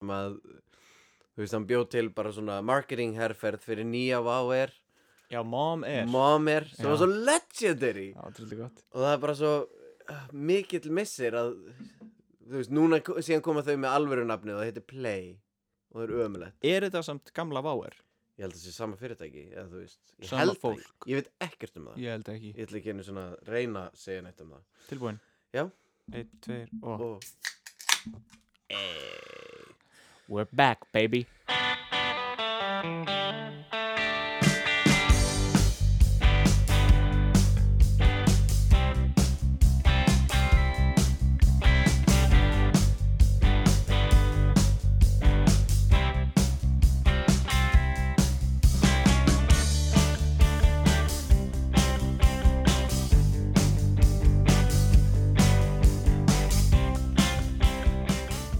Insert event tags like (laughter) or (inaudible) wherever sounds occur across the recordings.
sem að þú veist, hann bjóð til bara svona marketing herferð fyrir nýja váer Já, mom er momer, sem Já. var svo legendary Já, trillu gott og það er bara svo uh, mikill missir að þú veist, núna ko- síðan koma þau með alvöru nafnið og það heitir Play og það er ömulegt Er þetta samt gamla váer? ég held að það sé sama fyrirtæki eða þú veist, ég Sama held það fólk. ekki. ég veit ekkert um það Ég held ekki ég ætla ekki einu svona að reyna að segja neitt um það Tilbúin Já. Eitt, tveir og og We're back, baby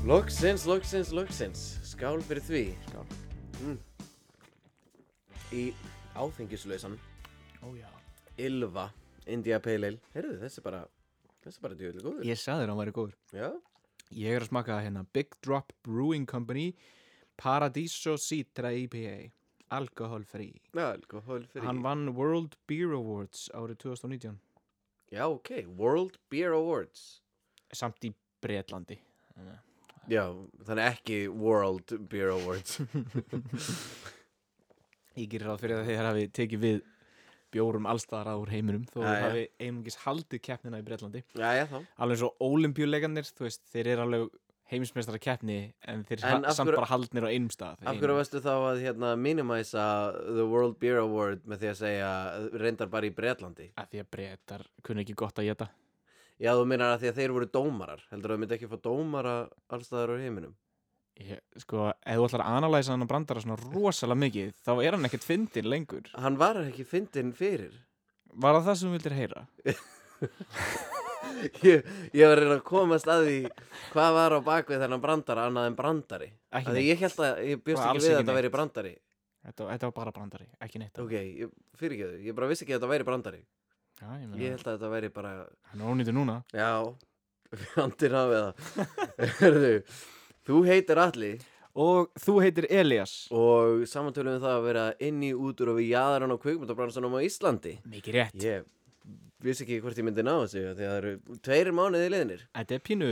loksins, loksins, loksins skál fyrir því Skál. mm. í áfengislausan Ó Oh, já Ylva India Pale Ale heyrðu þessi er bara þessi er bara djúvel góður Ég sagði þér að hann væri góður já Ég er að smaka það hérna Big Drop Brewing Company Paradiso Citra E IPA Alkohol free. alkohol fyrir Hann vann World Beer Awards árið 2019 já ok World Beer Awards Samt í Bretlandi já þannig ekki World Beer Awards Ég gerir ráð fyrir að þeir hafi tekið við bjórum allstaðar að úr heiminum þó þeir Jæja. hafi einungis haldið keppnina í Bretlandi (laughs) já já þá alveg svo ólimpjuleikanir, þú veist, þeir eru alveg heimismestara keppni en þeir En en af samt hverju- bara haldnir á einum stað Af hverju varstu þá að hérna, minimæsa The World Beer Award með því að segja uh, reyndar bara í Bretlandi? Af því að breytar kunni ekki gott að geta Já, þú meinar að því að þeir voru dómarar. Heldur að þau myndi ekki fá dómara allstaðar á heiminum? Ég, sko, ef þú ætlar að analæsa hann að brandara svona rosalega mikið, þá er hann ekkert fyndin lengur. Hann var ekki fyndinn fyrir. (laughs) Var það það sem þú vildir heyra? Ég, ég var að reyna að komast að því hvað var á bakvið þennan brandara annað en brandari. Af Ekki Því neitt. ég held að, ég bjóst Bara ekki alls við að ekki þetta neitt. væri brandari. Þetta, þetta var bara brandari, ekki neitt. Ok, ég, fyrir ekki þau. Ég bara vissi ekki að þetta væri brandari. Já, ég meina, Ég held að þetta væri bara hann er ónýttur núna. Já, (laughs) fjandinn hafið það Hörðu, þú heitir Alli Og þú heitir Elias. og samantölum við það að vera inn í útur og við jaðaran á kvikmyndabransanum á Íslandi Mikið rétt. Ég vissi ekki hvort ég myndi ná þessu af því að það eru tveiri mánuði liðinir Þetta er pínu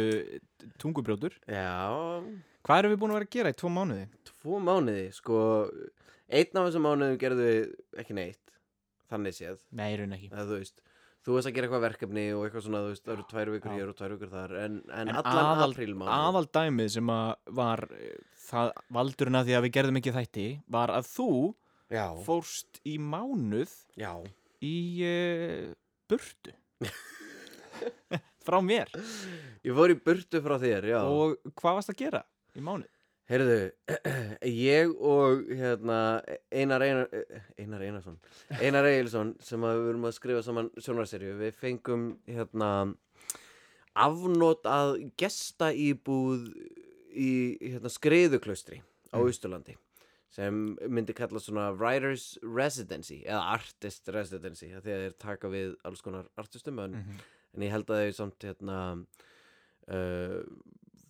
tungubrjótur. Já, Hvað erum við búin að vera að gera í tvo mánuði? tvo mánuði, sko Einn af þessum mánuðum gerðu við ekki neitt Þannig séð, Nei, raun ekki. eða þú veist Þú veist að gera eitthvað verkefni og eitthvað svona, þú veist, það eru tvær vikur hér og tvær vikur þar En, en, En allan aðal- aprílmánuð Aðal dæmið sem að var eh, það valdurinn að því að við gerðum ekki þætti var að þú Já, fórst í mánuð já í uh, burtu. (laughs) Frá mér. Ég fór í burtu frá þér, já Og hvað varst að gera í mánuð? Heyrðu, (clears throat) ég og hérna, Einar, Einar, eh, Einar Einarsson, Einar Egilson sem að við vorum að skrifa saman sjónarserju, við fengum hérna afnót að gesta íbúð í hérna, skriðuklaustri á Mm. Ísturlandi sem myndi kalla svona writer's residency eða artist residency af því að þeir taka við alls konar artistum en en ég held að þau samt hérna uh,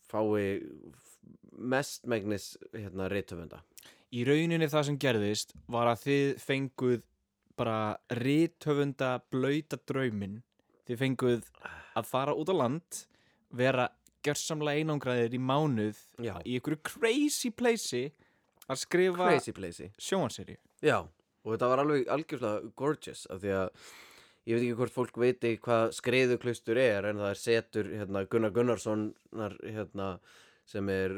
fái mestmægnis hérna reytöfunda Í rauninni það sem gerðist var að þið fenguð bara rithöfunda blöyta drauminn. Þið fenguð að fara út á land, vera gjörsamlega einangraðir í mánuð Já. í einhverju crazy placei að skrifa crazy placey sjónvanseri. já og þetta var alveg algjörlega gorgeous af því að ég veit ekki hvort fólk veiti hvað skreiðuklaustur er en það er setur hérna Gunnar Gunnarssonar hérna sem er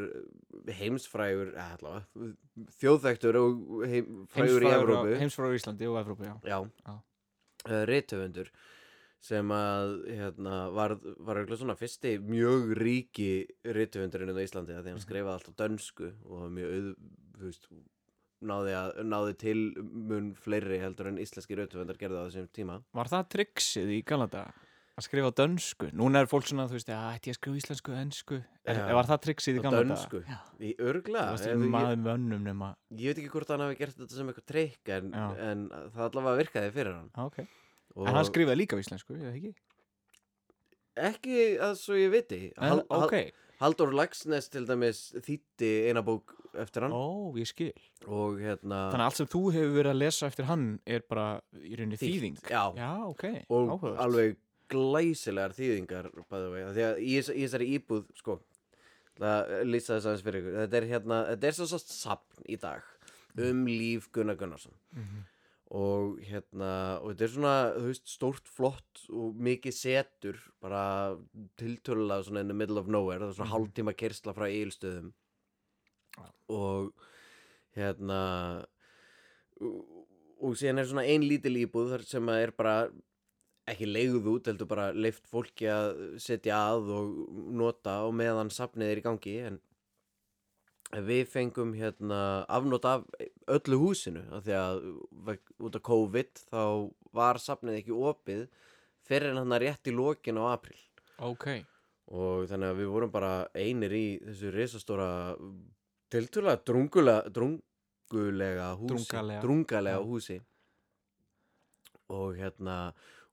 heimsfrægur eh, allavega, þjóðþektur og heim, frægur í Evrópu Heimsfrægur í Íslandi og Evrópu, já. já, Já. uh, rithöfundur sem að hérna, var, var örugglega svona fyrsti mjög ríki rithöfundurinn á Íslandi af því Mhm. hann skrifaði allt á dönsku og var mjög auð, þú veist, náði, að, náði til mun fleiri heldur en íslenski rithöfundar gerði á þessum tíma Var það triksið í Galanda? Að skrifa á dönsku? Núna er fólk svona, þú veist, að ætti ég að skrifa íslensku, ensku? Er, Já. var það triksið í á Galanda? dönsku, Já. í Það örgla varst ég, ekki maður með önnum nema ég veit ekki hvort hann hafi gert þetta sem eitthvað trikk en, Já. en það allavega virkaði fyrir hann ah, okay. og En hann skrifaði líka á íslensku, eða ekki? ekki að svo ég viti En, Hal- hal- Eh, ok, Halldór Laxnes til dæmis þýtti eina bók eftir hann Ó, ég skil og hérna Þannig að allt sem þú hefur verið að lesa eftir hann er bara í rauninni þýðing já, Já, ok, og áhugavert. alveg glæsilegar þýðingar by the way, af því að í, þess- í þessari íbúð sko, það lýsa þess aðeins fyrir ykkur þetta er hérna, þetta er svo svo sapn í dag um líf Gunnar Gunnarsson Mhm. og hérna og þetta er svona, þú veist, stórt flott og mikið setur bara tiltölulega svona in the middle of nowhere það er svona Mhm. hálftíma kersla frá eilstöðum Já. og hérna og- og síðan er svona ein lítil íbúð þar sem að er bara ekki leigð út, heldur bara leift fólki að setja að og nota og meðan safnið er í gangi en við fengum hérna afnót af öllu húsinu af því að veg- út af COVID þá var safnið ekki opið fyrir en hann rétt í lokin á april Ok, og þannig að við vorum bara einir í þessu risastóra tiltúrulega drungulega drungulega húsi Drungalega. drungalega Já. húsi og hérna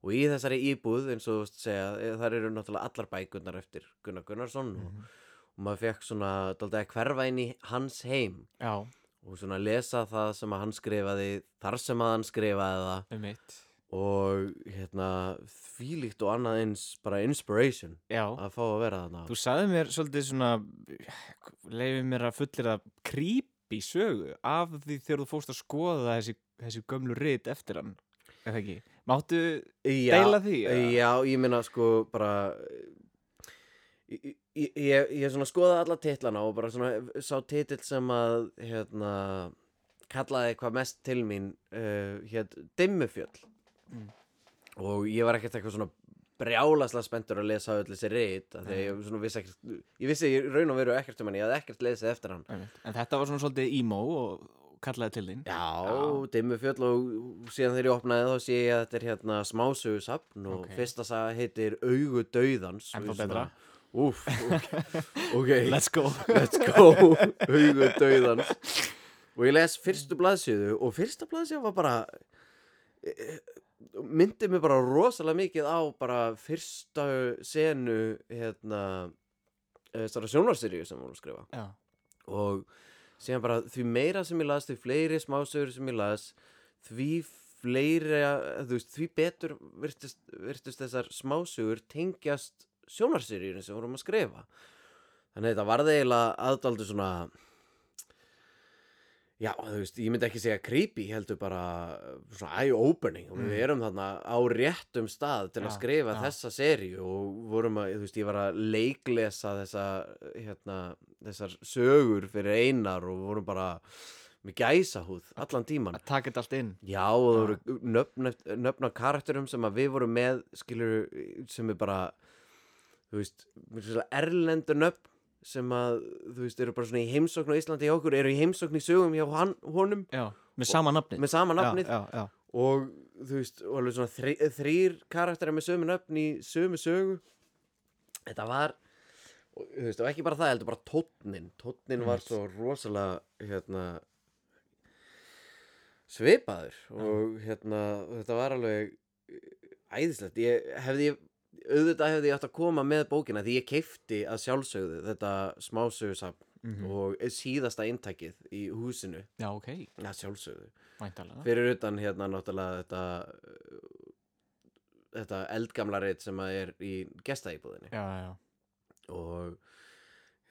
og í þessari íbúð eins og þú veist segja eh, þar eru náttúrulega allar bækurnar eftir Gunnar Gunnarsson Mhm. og, og maður fekk svona daldið að hverfa inn í hans heim já, og svona lesa það sem að hann skrifaði þar sem að hann skrifaði það um mitt og hérna þvílíkt og annað eins bara inspiration Já, að fá að vera þarna þú sagði mér svolítið svona leifið mér að fullir að creepy sögu af því þegar þú fórst að skoða þessi, þessi gömlu rit eftir hann eða ekki, máttu já, deila því? já. eða? ég meina sko bara ég, ég, ég, ég svona skoðaði alla titlana og bara svona sá titill sem að hérna kallaði hvað mest til mín uh, hér Dimmufjöll Mm. og ég var ekkert eitthvað svona brjálaslega spenntur að lesa öll þessi reyt þegar Mm. ég svona vissi ekkert ég vissi í raun og veru ekkert um hann ég hafði ekkert lesið eftir hann Einmitt. En þetta var svona svolítið emo og og kallaði til þín Já, Dimmufjöll og síðan þegar ég opnaði þá sé ég að þetta er hérna smásögusafn og Ok. fyrsta saga heitir Augu Dauðans Ennþá og svona- betra. Úff, ok, (laughs) okay. Let's go (laughs) let's go Augu Dauðans Og ég les fyrstu blaðsíðu og fyrsta blaðsíða var bara eh, myndi mig bara rosalega mikið á bara fyrsta senu hérna þessara sjónvarseríu sem hún var að skrifa Já, og síðan bara því meira sem ég las, því fleiri smásögur sem ég las því fleiri þú veist, því betur virtust, virtust þessar smásögur tengjast sjónarseríunum sem vorum að skrifa þannig að þetta varði eiginlega aðdaldi svona já, þú veist, ég myndi ekki segja creepy heldur bara svona eye-opening og við erum þarna á réttum stað til að Mm. Já, skrifa já. þessa seríu og vorum að, þú veist, ég var að leiklesa þessa, hérna, þessar sögur fyrir einar og vorum bara með gæsahúð allan tíman að taka þetta allt inn Já, og það Já. voru nöfn, eft- nöfn á karakterum sem að við vorum með, skilur, sem er bara, þú veist, mér finnst það erlendu nöfn sem að, þú veist, eru bara svona í heimsókn á Íslandi hjá okkur, eru í heimsókn í sögum hjá hann, honum Já, með sama nafnið með sama nafnið Já, já, já. og, þú veist, og alveg svona þri, þrýr karakterar með sömu nöfn í sömu sögu. Þetta var, og, þú veist, og ekki bara það, heldur bara tónnin, tónnin var svo rosalega, hérna, svipaður og hérna þetta var alveg eh, æðislegt ég hefði auðvitað hefði ég átt að koma með bókina því ég keifti að sjálfsögðu þetta smásögusafn Mhm. og síðasta inntakið í húsinu já ok, að sjálfsögðu mæntalega fyrir utan hérna náttúrulega þetta eh, þetta eldgamla reitt sem að er í gestaíbúðinni já, já. og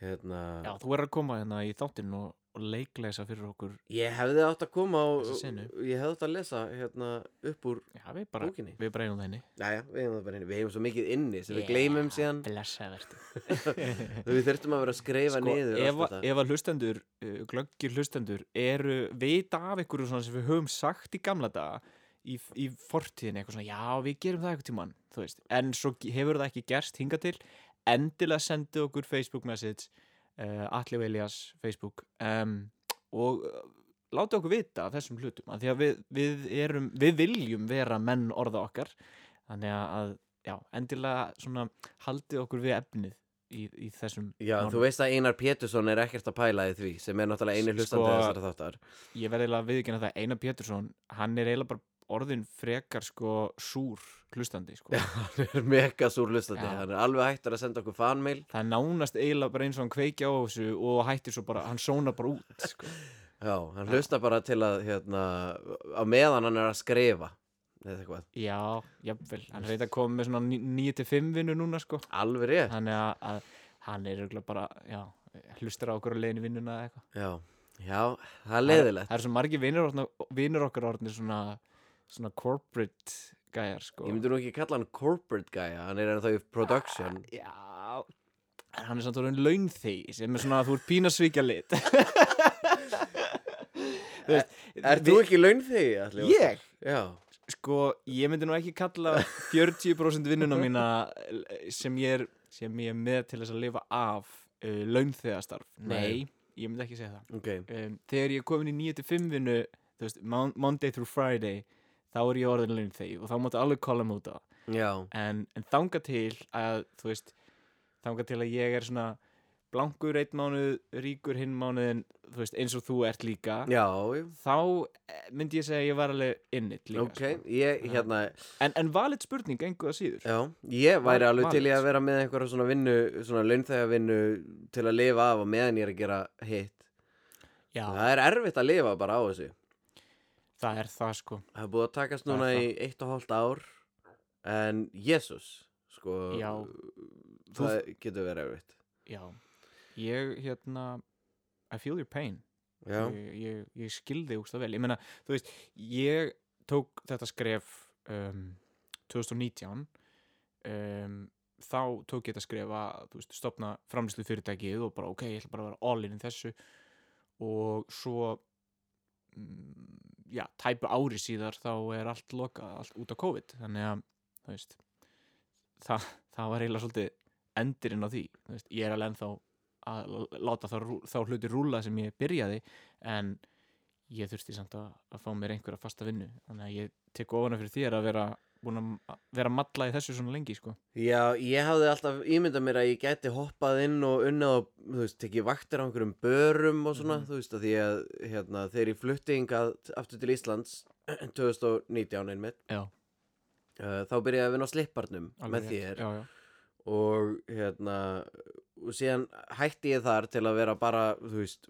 hérna já, þú er að koma hérna í þáttinn og, og leikleisa fyrir okkur ég hefði átt að koma á Þessa senu. ég hefði átt að lesa hérna upp úr Já, við bara, Bókinni. við bara eigum það henni Jæja, við hefum það bara inni, við hefum svo mikið inni sem við gleymum síðan Blessa verður (laughs) Þegar við þurftum að vera að skreifa Sko, niður ef, allt þetta ef að hlustendur, uh, glöggir hlustendur eru vita af einhverju svona sem við höfum sagt í gamla daga í, í fortíðinni, eitthvað svona, já, við gerum það eitthvað tímann, þú veist, en svo ge- hefur það ekki gerst hinga til, endilega sendu okkur Facebook message uh, Atli og Elias Facebook um, og uh, láta okkur vita af þessum hlutum, af því að við, við erum, við viljum vera menn orða okkar, þannig að já, endilega svona haldið okkur við efnið í, í þessum Já, málum. þú veist að Einar Pétursson er ekkert að pæla í því sem er náttúrulega eini hlustandi Sko- þessara þáttar (laughs) ég verði eiginlega að viðkynna það Einar Pétursson, hann er eiginlega bara orðin frekar sko súr hlustandi sko. hann er mega súr lustandi Já. hann er alveg hættur að senda okkur fanmail það er nánast eiginlega bara eins og hann kveikja á þessu og hættir svo bara, hann sónar bara út sko. já, hann hlusta bara til að hérna, á meðan hann er að skrifa eða eitthvað, já, jafnvel, hann reyta að koma með svona 9-5 vinnu núna sko. alveg rétt hann er, að, hann er örugglega bara já, hlustar á okkur á leiðinu í vinnuna eða eitthvað já, já, það er leiðilegt það er svo margir vinur, orðna- vinur okkar orðnir svona, svona corporate gæjar sko ég myndi nú ekki kalla hann corporate guy hann er ennþá í production já en hann er samt orðin launþegi sem er svona að þú ert pínasvíkja lit (laughs) er þú ekki laun þig? Ah, Ég? já, sko, ég myndi nú ekki kalla 40% vinnuna mína eh, sem ég er, sem ég er með til þess að lifa af uh, launþegastarf nei, Nei. ég myndi ekki segja það ok um, þegar ég er komin í 9-5 vinnu þú veist, mon- Monday through Friday þá er ég orðin launþegi og þá máttu alveg kalla mig út á það já, en, en þanga til að þú veist, þanga til að ég er svona blankur einn mánuð, ríkur hinn mánuðin þú veist, eins og þú ert líka já þá eh, myndi ég segja að ég var alveg innit líka ok, ég, hérna sko. en, en valið spurning engu að síður Já, ég væri Val- alveg til í valið, að vera með einhverja svona vinnu, svona launþægavinnu til að lifa af og meðan ég er að gera hitt. já, Það er erfitt að lifa bara á þessu. það er það sko Það er búið að takast Það er núna það. í eitt og hálft ár en Jesus, sko, Já. það getur verið erfitt. já, ég hérna I feel your pain Já, ég, ég, ég skildi úkst það vel ég meina, þú veist, ég tók þetta skref um, 2019 um, þá tók ég þetta skref að þú veist, stopna framlýslu fyrirtækið og bara ok, ég ætla bara að vera all in í þessu og svo mm, já, tæpu ári síðar þá er allt lokað, allt út á COVID þannig að, þú veist það, það var eiginlega svolítið endurinn á því, þú veist, ég er alveg ennþá að láta þá, rú- þá hluti rúla sem ég byrjaði en ég þurfti samt að, að fá mér einhverja fasta vinnu þannig að ég tek ofana fyrir þér að vera búin að að vera að malla í þessu svona lengi sko. Já, ég hafði alltaf ímyndað mér að ég gæti hoppað inn og unnað og, þú veist, tekið vaktir á einhverjum börum og svona, Mhm. þú veist, að því að, hérna, þegar ég flutti hingað aftur til Íslands (clears throat) 2019 einmitt, Já. uh, þá byrjaði ég að vinna á slipparnum með þér já, já. og, hérna, og síðan hætti ég þar til að vera bara, þú veist,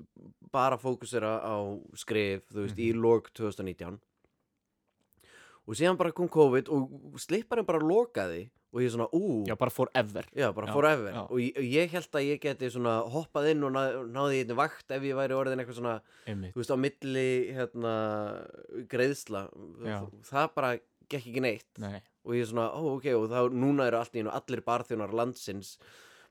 bara fókusera á skrif, þú veist, Mhm. í lók 2019 og síðan bara kom COVID og slipparinn bara lokaði og ég svona, ú, já, bara forever Já, bara Já, forever já. og ég, og ég held að ég geti svona hoppað inn og náði, náði einni vakt ef ég væri orðin eitthvað svona, einmitt, þú veist, á milli hérna, greiðsla Já. það, það bara gekk ekki neitt nei, og ég svona, ó ok, og þá núna eru allt í einu allir barþjónar landsins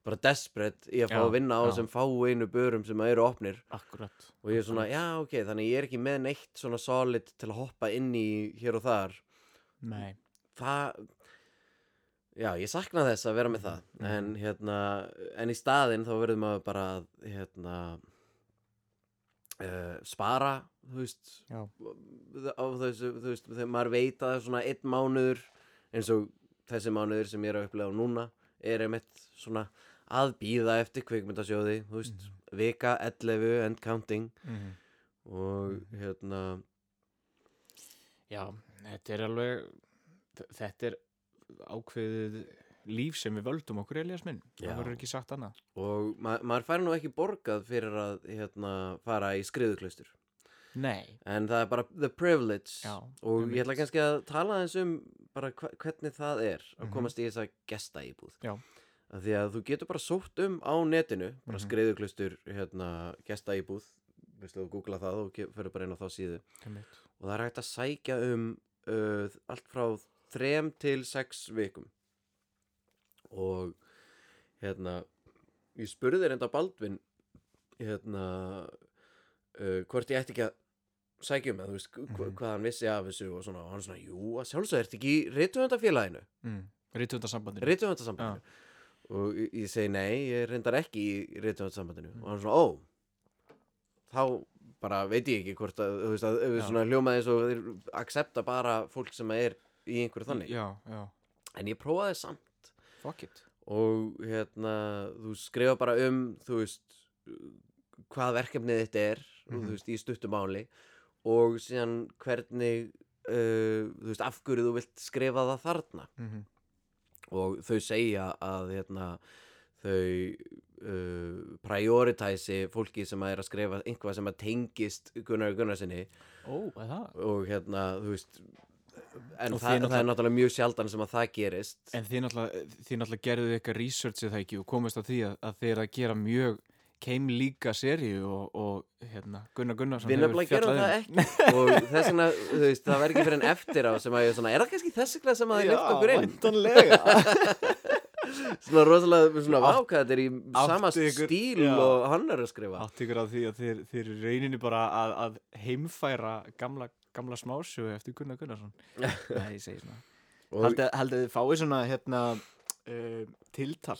bara desperate í að fá Já, að vinna á já. þessum fáu einu börum sem eru opnir akkurat og ég er svona, já ok, þannig ég er ekki með neitt svona solid til að hoppa inn í hér og þar nei, það já, ég sakna þess að vera með það Mhm. en hérna, en í staðinn þá verður maður bara að, hérna uh, spara þú veist Já. á þessu, þú veist, þegar maður veit að svona einn mánuður eins og þessi mánuður sem ég er að upplega núna er einmitt svona að býða eftir kvikmyndasjóði, þú veist vika 11 and counting mhm. og hérna, já, þetta er alveg þ- þetta er ákveðið líf sem við völdum okkur Elias minn, Já. það verður ekki sagt annað og ma maður fær nú ekki borgað fyrir að hérna, fara í skriðuklaustur nei, en það er bara the privilege Já, og ég ætla einmitt. kannski að tala aðeins um bara hva- hvernig það er að Mhm. komast í þessa gesta íbúð Já. Af því að þú getur bara sótt um á netinu bara mm Mhm. hérna, gesta íbúð veistu þú googla það og ge- ferðu bara inn á þá síðu einmitt, og það er hægt að sækja um uh, allt frá þrem til sex vikum og hérna ég spurði reynda Baldvin hérna uh, hvort ég ætti ekki að sækja um eða þú veist hva, Mhm. hvað hann vissi af þessu og svona og hann svona, jú, að sjálfsög ertu ekki í reytuðundafélaginu, mm. rítundasambandinu reytuðundasambandinu og ég, ég segi nei, ég reyndar ekki í reytuðundasambandinu Mm. og hann svona, ó þá bara veit ég ekki hvort að, þú veist, að Já. ja. svona hljómaði eins og þeir accepta bara fólk sem er í einhverju þannig, já, já, en ég prófaði samt fuck it og hérna þú skrifa bara um þú veist hvað verkefnið þetta er og, Mhm. þú veist, í stuttum áli og síðan hvernig uh, þú veist, af hverju þú vilt skrifa það þarna mm -hmm. og þau segja að hérna, þau uh, prioritæsi fólki sem að er að skrifa einhvað sem að tengist Gunnar Gunnarsinni Ó, er það? og hérna, þú veist en það, Og því náttúrulega- það er náttúrulega mjög sjaldan sem að það gerist En þið náttúrulega, þið náttúrulega gerðuð eitthvað research eða ekki og komist að því að, að þið er að gera mjög keim líka seríu og, og hérna, Gunnar Gunnarsson Við nefnilega um gerum það ekki og þess vegna, þú veist, það verður ekki fyrir en eftir á sem að ég er svona, er það kannski þess vegna sem að það lyft okkur inn? væntanlega Svona rosalega, svona Átt- váka, þetta er í sama áttu ykkur- stíl já. og hann er að skrifa (laughs) Átt ykkur að því að þið, þið eru í rauninni bara að, að heimfæra gamla, gamla smásögu eftir Gunnar Gunnarsson (laughs) Nei, ég segi svona og, Haldið haldið þið fáið svona hérna, uh, tiltal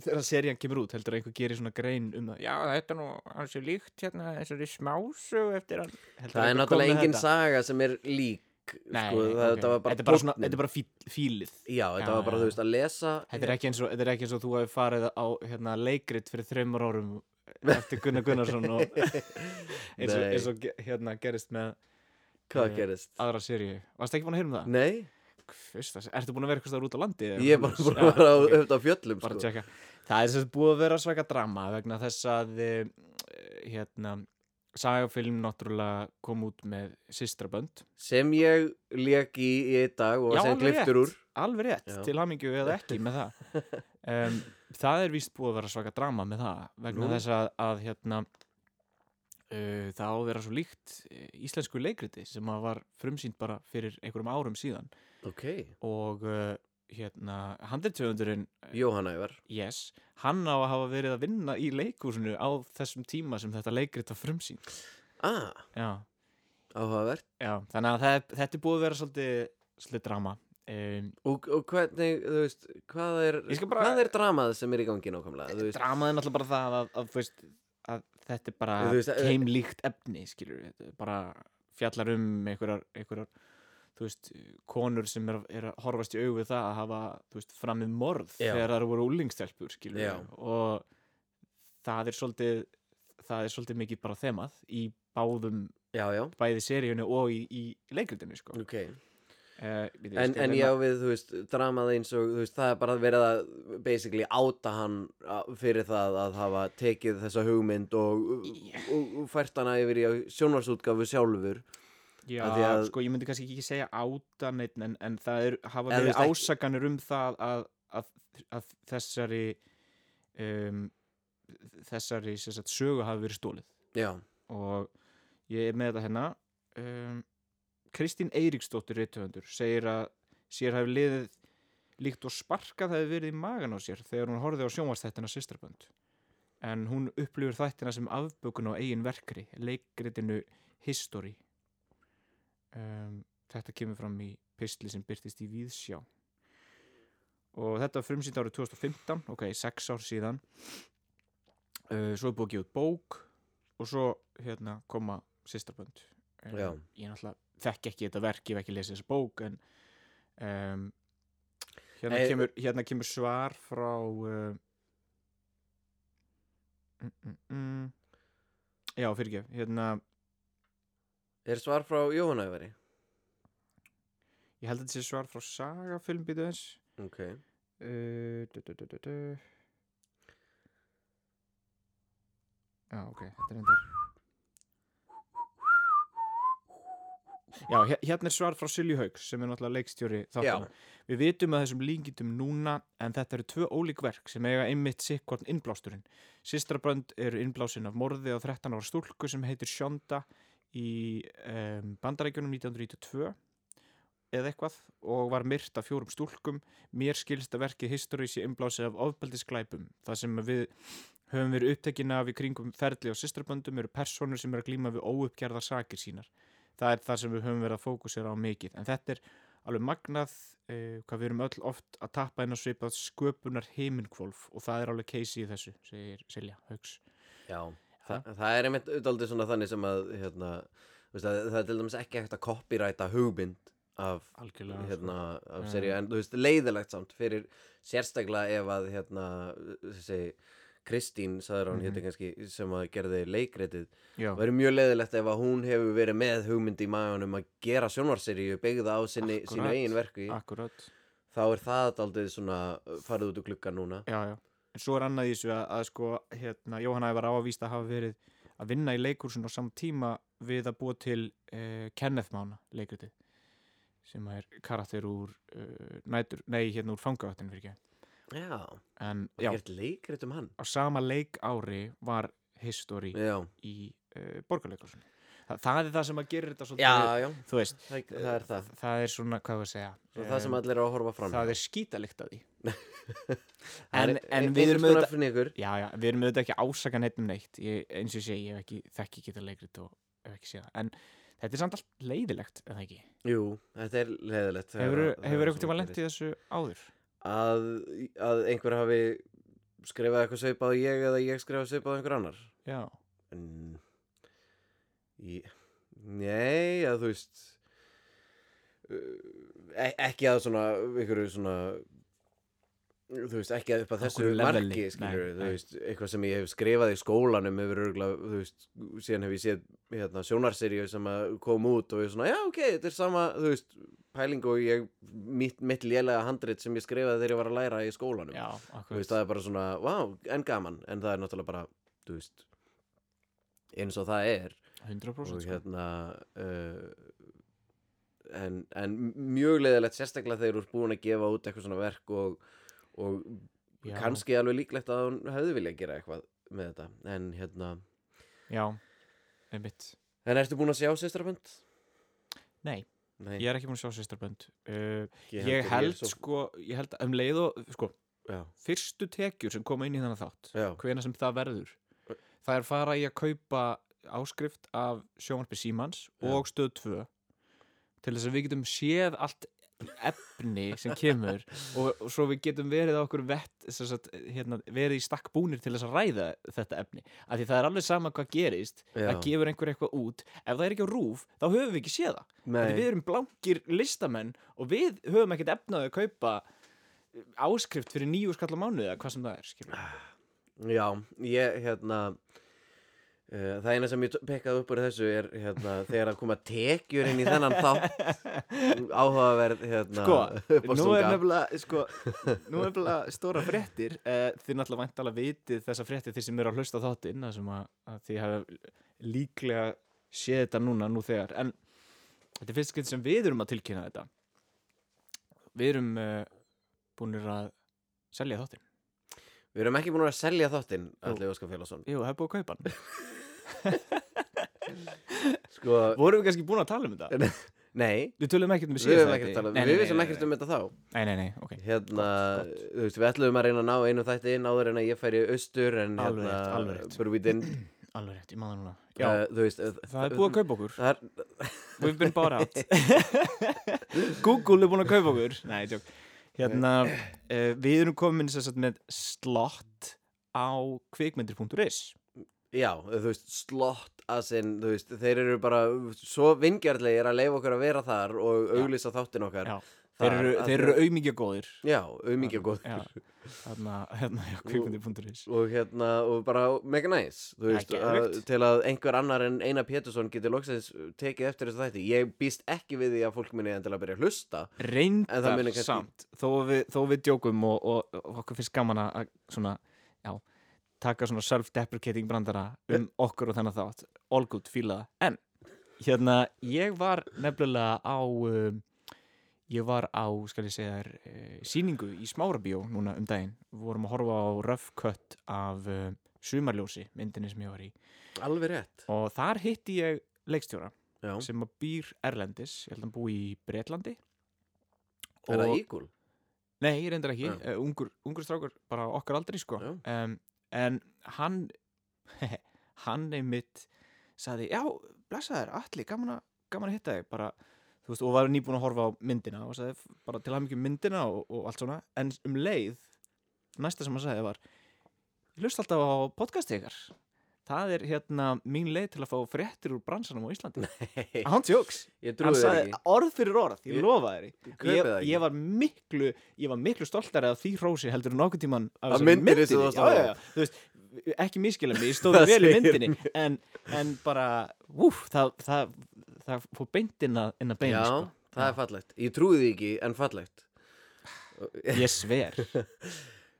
þegar serían kemur út, heldur einhver gerir svona grein um það Já, þetta er nú hans er líkt hérna, þessari smásögu eftir hann Heldur Það einhver er komi náttúrulega með engin þetta? saga sem er lík Nei, sko, nei, það, ok. það var bara, Þetta er bara, svona, tónninn. þetta er bara fí, fílið Já, þetta Já, var bara, já. þú veist, að lesa (laughs) Þetta er ekki eins og, þetta er ekki eins og þú hefði farið á hérna, leikrit fyrir þreymur árum (laughs) eftir Gunnar Gunnarsson og eins og, Nei. eins og ge- hérna, gerist með Hvað eh, gerist? aðra seríu. Varstu ekki búin að heyra um það? Nei, Fyrsta, ertu búin að vera eitthvað staðar út á landi? eða ég er bara búin svoleiðis? Já, að vera á- ok, auðvitað á fjöllum bara að sko. tjekka. Það er sem sagt búið að vera svaka drama vegna þess að eh, hérna, sagafilm náttúrulega kom út með sýstrabönd Sem ég lék í í einn dag og Já, sem alveg gliftur úr alveg rétt, Já. til hamingju eða ekki með það (laughs) um, það er víst búið að vera svaka drama með það vegna Nú. þess að, að hérna uh, það á að vera svo líkt eh, íslensku leikriti sem að var frumsýnd bara fyrir einhverjum árum síðan Ok, og uh, hérna handritöfundurinn, Jóhann Ævar yes hann á að hafa verið að vinna í leikúsinu á þessum tíma sem þetta leikrit var frumsýnd Ah, já, áhugavert já, þannig að það, þetta er búið að vera svolítið, svolítið drama um, Og, og hvernig, þú veist, hvað er, Ég skal bara- Eh, hvað er dramað sem er í gangi nákvæmlega? Þú veist, dramaði náttúrulega bara það að, að, þú veist, að þetta er bara Þú veist, eh, keimlíkt efni skilur við, þetta er bara fjallar um einhverjar, einhverjar þú veist, konur sem er, er að horfast í augu við það að hafa þú veist, framið morð Já. þegar það voru úlingstelpur skilur Já. við, og það er svolítið það er svolítið mikið bara þemað í báðum, já, já, bæði seríunni og í, í leikritinu sko. ok. uh, Mm. En, en já við, þú veist, dramað eins og, þú veist, það er bara verið að basically áta hann á- fyrir það að hafa tekið þessa hugmynd og, Já. og, og fært hana yfir í sjónarsútgafu sjálfur. Já, Af því að- sko, ég myndi kannski ekki segja áta neitt en, en það er, hafa Eða þú verið veist ekki- ásakanir um það að, að, að þessari um, þessari sem sagt, sögu hafi verið stólið Já, og ég er með þetta hérna um, Kristín Eiríksdóttir rithöfundur segir að sér hafi liðið líkt og sparkað hafi verið í magan á sér þegar hún horfið á sjónvastættina sýstrabönd en hún upplifur þættina sem afbökun á eigin verkri leikritinu History um, þetta kemur fram í pistli sem byrtist í Víðsjá og þetta var frumsýnd árið 2015 ok, sex ár síðan uh, svo er búið að gefa út bók og svo hérna koma sýstrabönd um, Já. ég náttúrulega þekki ekki þetta verk, ég hef ekki lesið þessa bók en um, hérna, Eh, kemur, hérna kemur svar frá uh, mm, mm, mm, já, fyrirgef hérna er svar frá Jóhann Ævari? Ég held að þetta sé svar frá Saga filmbítu eins Ok. uh, du, du, du, du, du. Já, ok, þetta er endar Já, hér- hérna er svar frá Silju Hauks sem er náttúrulega leikstjóri Já, þáttan Við vitum að þessum líkindum núna en þetta eru tvö ólík verk sem eiga einmitt sikkorn innblásturinn. Sistrabrönd eru innblásinn af morði á 13 ára stúlku sem heitir Shonda í um, bandarækjunum 1992 eða eitthvað og var myrt af fjórum stúlkum. Mér skilst að verkið History sé innblásið af ofbeldisglæpum. Það sem við höfum verið upptekin af í kringum ferli á sistraböndum eru personur sem eru að glíma við óuppgerðar sakir sínar. Það er það sem við höfum verið að fókusera á mikið. En þetta er alveg magnað uh, hvað við erum öll oft að tappa inn á svipað sköpunar heiminhvolf og það er alveg case í þessu, segir Silja Hauks. já. Þa, það er einmitt auðvitað svona þannig sem að, hérna, þú veist, að það er til dæmis ekki hægt að copyræta hugmynd af Algjörlega. hérna, af Já. seríu en þú veist, leiðilegt samt fyrir sérstaklega ef að hérna, þessi Kristín, sagður hann, mm Mhm. kannski, sem að gerði leikritið já, Það verður mjög leiðilegt ef að hún hefur verið með hugmynd í maðunum að gera sjónvarseríu byggða á sinni, sínu Akkúrat. eigin verku akkurat þá er það daldið svona uh, farið út úr glugga núna já, já. en svo er annað í þessu að, að sko, hérna, Jóhanna var ávíst að hafa verið að vinna í leikursun á samt tíma við að búa til uh, Kenneth Mána leikritið sem er karakter úr uh, nætur, nei, hérna úr fangavattin fyrir ekki Já, en og já, gert leikrit um hann á sama leik ári var history Já, í uh, borgarleikursun Þa, það er það sem að gera þetta svolítið já, já, þú veist, e, það, það er það það er svona, hvað var að segja E, Svo það sem allir eru að horfa fram það er skítalikt að því (laughs) Það er en, en ein- við einhvers erum konar auðvitað finningur. já, já, við erum auðvitað ekki að ásaka neitt um neitt ég, eins og ég segi, ég hef ekki, þekki ekki það leikrit og hef ekki séð það en þetta er samt allt leiðilegt, eða ekki Jú, þetta er leiðilegt þegar hefur að- þegar svona hefur eitthvað tíma gerist. lent í þessu áður að, að einhver hafi skrifað eitthvað svipað á ég eða ég skrifað svipað á einhver annar já, en ég, nei, að þú veist uh, e ekki að svona einhverju svona þú veist, ekki að upp að þessu Einhverju leveli, marki skilur, nei, þú nei. veist, eitthvað sem ég hef skrifað í skólanum hefur örgla, þú veist, síðan hef ég séð hérna, sjónarseríu sem að kom út og ég svona, já, ok, þetta er sama þú veist, pæling og ég mitt, mitt lélega handrit sem ég skrifaði þegar ég var að læra í skólanum já, þú veist, akkurat það er bara svona, vá, en gaman en það er náttúrulega bara, þú veist eins og það er 100% og sko. hérna uh, en, en mjög leiðilegt sérstaklega þegar þú ert búin að gefa út eitthvað svona verk og, og Já. kannski alveg líklegt að hún hefði viljað gera eitthvað með þetta en hérna, já, einmitt en ertu búin að sjá sýstrabönd? Nei. Nei, ég er ekki búin að sjá sérstörbönd uh, ekki heldur, ég held svo- sko, ég held að um leið og sko, Já, fyrstu tekjur sem koma inn í þannig þátt já, hvena sem það verður það er fara í að kaupa áskrift af sjónvarpi Símans Já. og stöð 2 til þess að við getum séð allt efni sem kemur og, og svo við getum verið á okkur vett sem sagt, hérna, verið í stakk búnir til þess að ræða þetta efni af því það er alveg sama hvað gerist já að gefur einhver eitthvað út ef það er ekki á rúf þá höfum við ekki séð það Nei. Nei, Við erum blankir listamenn og við höfum ekkert efnaði að kaupa eh, áskrift fyrir nýju skall á mánuði eða hvað sem það er, skilur. já, ég hérna Uh, það eina sem ég t- pekkaði upp úr þessu er (laughs) hérna, þegar að koma tekjur inn í þennan þá áhugaverð hérna, Sko, nú er uppástunga. nefnilega, sko, nú er nefnilega stóra fréttir, uh, þið náttúrulega væntalega vitið þessa fréttir þið sem eru að hlusta á þáttinn, þar sem að, að þið hafa líklega séð þetta núna, nú þegar, en þetta er fyrst skil sem við erum að tilkynna þetta. Við erum uh, búinir að selja þáttinn. Við erum ekki búin að selja þáttinn, Alli Óskar Félagsson Jú, það er búið að kaupa (laughs) hann. Sko, Vorum við kannski búin að tala um þetta? nei, Við tölum ekkert um við erum ekkert að tala Við vissum ekkert um þetta þá Nei, nei, nei, ok Hérna, Gott, þú veist, við ætlum að reyna að ná einu þætti inn áður en að ég færi austur en Alveg hérna, rétt, alveg rétt. but we didn't Alveg rétt, ég maður núna Já, uh, Þú veist, uh, það er búið að kaupa okkur það er, We've been bought (laughs) out Google er búin að kaupa okkur Nei, tjók Hérna, uh, við erum komin sem sagt með slott á kvikmyndir.is Já, þú veist, slott asinn, þú veist, þeir eru bara svo vingjarlegir að leifa okkur að vera þar og auglýsa þáttinn okkar Já. Þeir Þar, eru, að- þeir eru auðmingja góðir Já, auðmingja góð Já, hérna, hérna, já, kvikmyndir.is og hérna, og bara mega næs þú veist, Ja, að, geðveikt. til að einhver annar en Einar Pétursson geti loksins uh, tekið eftir þessu þætti ég býst ekki við því að fólk minni endilega byrja að hlusta En það Reyndar muni kannski- samt þó að við, þó að við djókum og, og, og okkur finnst gaman að svona, já, taka svona self-deprecating brandara Eh. um okkur og þennan þátt all good, fíla það en hérna, ég var nefnilega á um, ég var á, skal ég segja þér uh, síningu í Smárabíó núna um daginn við vorum að horfa á rough cut af uh, sumarljósi, myndinni sem ég var í alveg rétt og þar hitti ég leikstjóra Já. sem að býr Erlendis, ég held að hann búi í Bretlandi er það ígul? Nei, ég reyndar ekki, Já. uh, ungur, ungur strákur, bara okkar aldrei sko (laughs) Já. um, En hann, (laughs) hann einmitt sagði, já, blessaður, allir, gaman, að- gaman að hitta þig bara, þú veist, og var nýbúin að horfa á myndina og sagði "F- bara til hann mikið myndina og, og allt svona, en um leið næsta sem hann sagði var, ég hlust alltaf á podcastið ykkar það er hérna mín leið til að fá fréttir úr bransanum á Íslandi hann tjóks, ég hann trúi þér sagði ekki orð fyrir orð, ég Ég- lofa þér Ég því. kaupi ég, það ekki. ég var miklu ég var miklu stoltari af því hrósi heldur en nokkuð tíman Af myndinni sem þú varst að já, já, horfa á. já, þú veist, ekki miskilum ég (laughs) stóði Það vel í segir myndinni en, en bara, úf, það það, það fór beint inn að, inn að beina Já, sko. það Já. er fallegt Ég trúi því ekki, en (sighs) fallegt ég sver (laughs)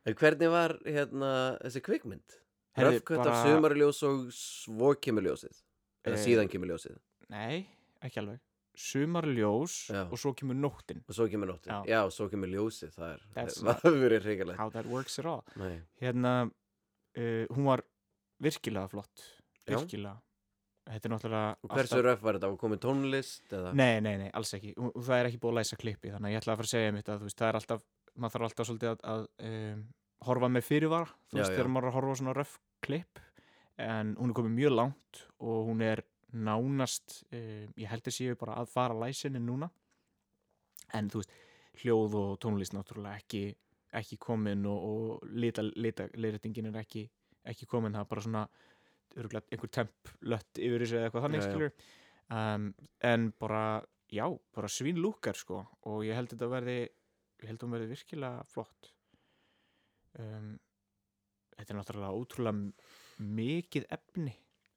En hvernig var hérna þessi kvikmynd? Herðu, Röfkvöld af bara- sumarljós og svo kemur ljósið Eða Eh, síðan kemur ljósið nei, ekki alveg sumarljós Já. og svo kemur nóttin Og svo kemur nóttin Já. Já, og svo kemur ljósið Það er, That's (laughs) það hefur verið hrigalegt how that works at all Nei, hérna uh, hún var virkilega flott Já. virkilega þetta er náttúrulega Og hversu alltaf- röf var þetta? Var komið tónlist? Eða? nei, nei, nei, alls ekki, og og það er ekki búið að læsa klippi þannig að ég ætla að fara að segja mitt að þú veist, það er alltaf maður þarf alltaf svolítið að, að um, horfa með fyrirvara, þú Já, veist, já. þegar maður er að horfa á svona röf klipp, en hún er komið mjög langt og hún er nánast um, ég held að séu bara að fara læsinni núna en þú veist, hljóð og tónlist náttúrulega ekki, ekki komin og, og lita, lita, leirætingin er ekki, ekki komin, það er bara svona örugglega einhver temp lött yfir þessu eða eitthvað þannig Já, já. skilur um, en bara, já, bara svín lúkar sko og ég held þetta verði ég held hún verði virkilega flott um, þetta er náttúrulega ótrúlega m- mikið efni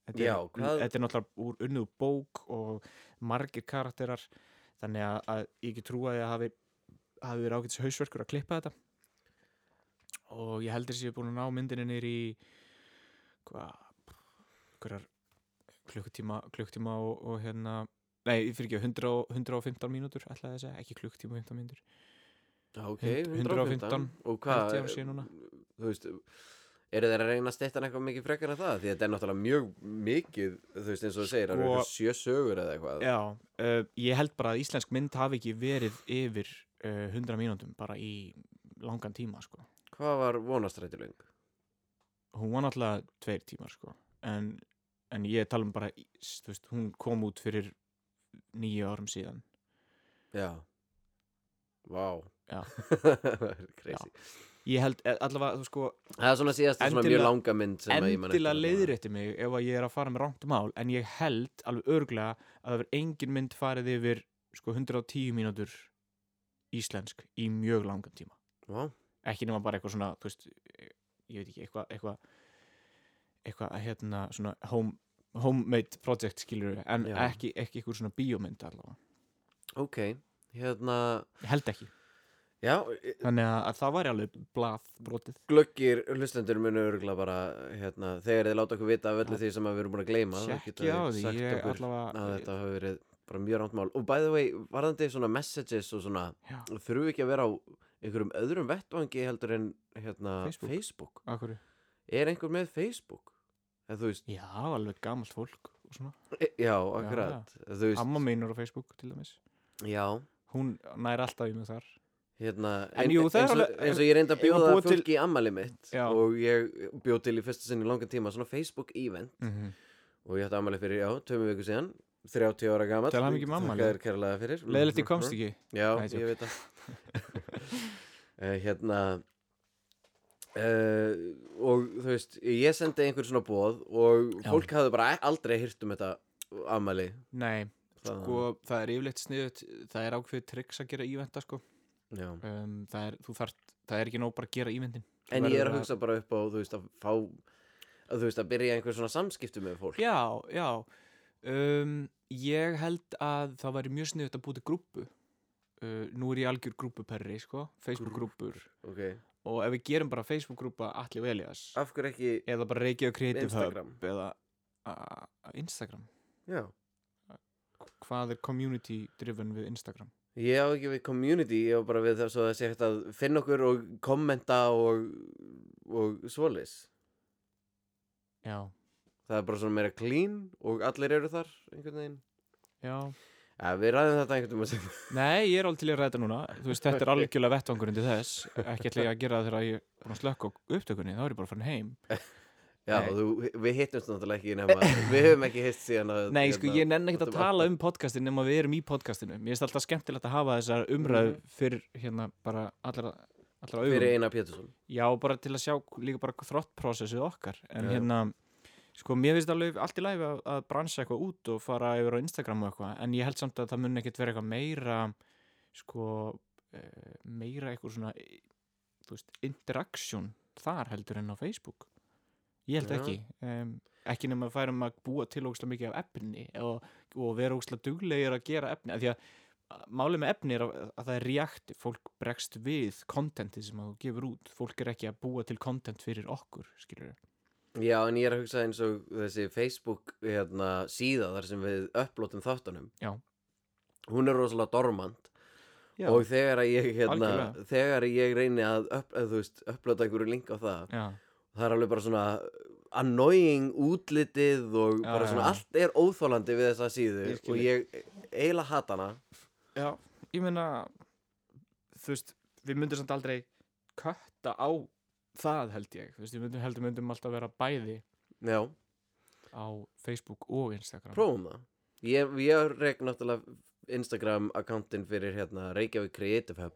þetta er, Já, hvað- þetta er náttúrulega úr unnuð bók og margir karakterar þannig að, að ég ekki trúa því að hafi hafi verið ágætis hausverkur að klippa þetta og ég heldur sér búin að ná myndinni nýr í hvað hverjar klukkutíma, klukkutíma og, og hérna nei, fyrir ekki 100, og- 115 mínútur ætlaði þess að, ekki klukkutíma og 15 mínútur Já, Ok, Hund- 115 115, Og held hvað, ég að sé núna. þú veist Eru þeir að reyna að stetta eitthvað mikið frekar en það? Því þetta er náttúrulega mjög mikið Þú veist eins og þú segir, það eru Sko- eitthvað sjö sögur eða eitthvað já, uh, ég held bara að íslensk mynd hafi ekki verið yfir uh, 100 mínútum bara í langan tíma sko. Hvað var vonastræti löng? hún var náttúrulega tveir tímar sko. en, en ég tala um bara í- s- þú veist, hún kom út fyrir nýju árum síðan Já Vá Já. (laughs) Það er crazy ég held eh, allavega, þú sko, Það er svona síðast svona mjög Endilega- langa mynd sem að ég man eftir endilega allavega. leiðrétti mig ef að ég er að fara með rangt mál en ég held alveg örglega að það verður engin mynd farið yfir sko 110 mínútur íslensk í mjög langan tíma Vá, ekki nema bara eitthvað svona þú veist, eh, ég veit ekki, eitthvað eitthvað, eitthvað hérna svona home, homemade project skilur við, en Já. ekki, ekki eitthvað svona bíómynd allavega, ok Hérna ég held ekki Já, þannig að, að það væri alveg blað brotið glöggir hlustendur munu örgulega bara hérna, þegar þeir láta okkur vita af öllu Já. því sem að við erum búin að gleyma þá geta ekki á þeir því, sagt ég okkur allavega að þetta hafi verið bara mjög rámt mál og by the way, varðandi svona messages og svona Já. þurfum við ekki að vera á einhverjum öðrum vettvangi heldur en hérna, Facebook. Facebook. Af hverju? er einhver með Facebook? eða þú veist, já, alveg gamalt fólk og svona e- já, akkurat já, þú veist, Amma mín er á Facebook til dæmis já Hún nær alltaf í mig þar hérna, En jú, það er eins, og, alveg- eins og ég reyndi að eigum að bjóða búa til- fólki í ammali mitt Já. og ég bjóð til í fyrsta sinni í langan tíma svona Facebook event mm -hmm. og ég ætti ammali fyrir, já, tömum viku síðan 30 ára gamall Til hamingju með um afmælið. Þakka þér kærlega fyrir Mhm. Leðilegt ég komst ekki Já, Nei, ég veit það (laughs) (laughs) uh, Hérna uh, Og þú veist Ég sendi einhver svona bóð Og Já. fólk hafði bara aldrei hýrt um þetta Amæli Nei, Ah. sko, það er yfirleitt sniðut Það er ákveðið triks að gera ívenda sko. Já. um, það, er, þú þarft, það er ekki nóg bara að gera ívendin En ég er að hugsa bara upp á Þú veist að fá að, Þú veist að byrja einhver svona samskipti með fólk Já, já um, Ég held að það væri mjög sniðut að búti grúpu uh, Nú er ég algjör grúpuperri sko, Facebook-grúpur Ok Og ef við gerum bara Facebook-grúpa Alli og Elias Af hverju ekki Eða bara Reykjavík Creative Instagram. Hub Eða a- a- Instagram Já hvað er community driven við Instagram Ég á ekki við community, ég á bara við það svo að sé hægt að finna okkur og kommenta og, og svoleiðis. já, Það er bara svona meira clean og allir eru þar einhvern veginn. já Ja, við ræðum þetta einhvern veginn sem nei, ég er alveg til í að ræða þetta núna þú veist, (laughs) þetta er algjörlega vettangurinn til þess ekki ætla ég að gera það þegar ég er búin að slökka á upptökunni, þá er ég bara farin heim Já, Nei. þú, við hittumst náttúrulega ekki nema, (laughs) Við höfum ekki hitt síðan að nei, sko, ég nenni hérna, þetta ekkert að var- tala um podcastin nema við erum í podcastinu, mér finnst alltaf skemmtilegt að hafa þessar umræðu Mhm. fyrir hérna bara allra, allra augum Fyrir Einar Pétursson já, bara til að sjá líka bara þrottprocessið okkar en Já, já. hérna, Sko, mér finnst alveg allt í læfi að, að bransa eitthvað út og fara yfir á Instagram og eitthvað, en ég held samt að það mun ekkert vera eitthvað meira, sko, eh, meira eitthvað svona, eh, þú veist, interaction þar heldur en á Facebook. Ég held Já. ekki. Um, ekki nema að færum að búa til ógslag mikið af efni og, og vera ógslag duglegir að gera efni, af því að eh, málið með efni er að, að það er reaktiv, fólk bregst við kontenti sem þú gefur út, fólk er ekki að búa til kontent fyrir okkur, skilur Já, en ég er að hugsa eins og þessi Facebook hérna, síða þar sem við upplótum þáttunum Já. Hún er rosalega dormant og þegar að ég, hérna, Algjörlega. þegar að ég reyni að, upp, að þú veist, upplóta einhverju link á það Já. það er alveg bara svona annoying útlitið og Já, bara já, svona já. allt er óþólandi við þessa síðu Ég skil og ég eiginlega hata hana Já, ég meina þú veist, við myndum samt aldrei kötta á það held ég, þú veist, við myndum, heldur myndum alltaf vera bæði Já, á Facebook og Instagram prófum það Ég, ég rek náttúrulega Instagram akkántin fyrir hérna Reykjavík Creative Hub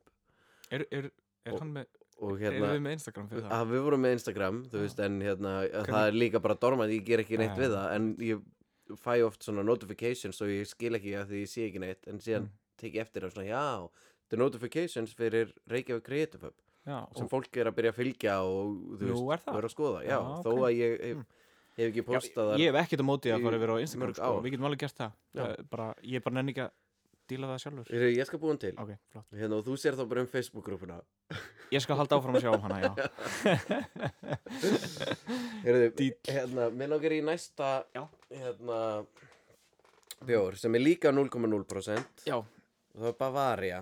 Er, er, er Og- hann með, og hérna, hérna við með Instagram fyrir það? að við vorum með Instagram, þú Já. veist, en hérna að það Hvernig- er líka bara dormað, ég ger ekki neitt Já. við það en ég fæ oft svona notifications og ég skil ekki að því ég sé ekki neitt en síðan Mm. tek ég eftir það svona, já þetta er notifications fyrir Reykjavík Creative Hub Já, sem og, fólk er að byrja að fylgja og þú Nú veist, er það? vera að skoða, já, Já, ok. Mm. þó að ég hef, hef ekki já, postað þar ég hef ekkert á móti að í fara yfir á mörg Instagram sko, ár. við getum alveg gert það, Já. það er bara, ég bara nenni ekki að díla við það sjálfur Heyrðu, ég skal búin til Ok, flott. hérna, og þú sér þá bara um Facebook-grúpuna Ég skal halda áfram að sjá um hana, já. Heyrðu, Díll. hérna, mér langar í næsta Já. hérna bjór sem er líka 0,0% (laughs) já. og það er Bavaria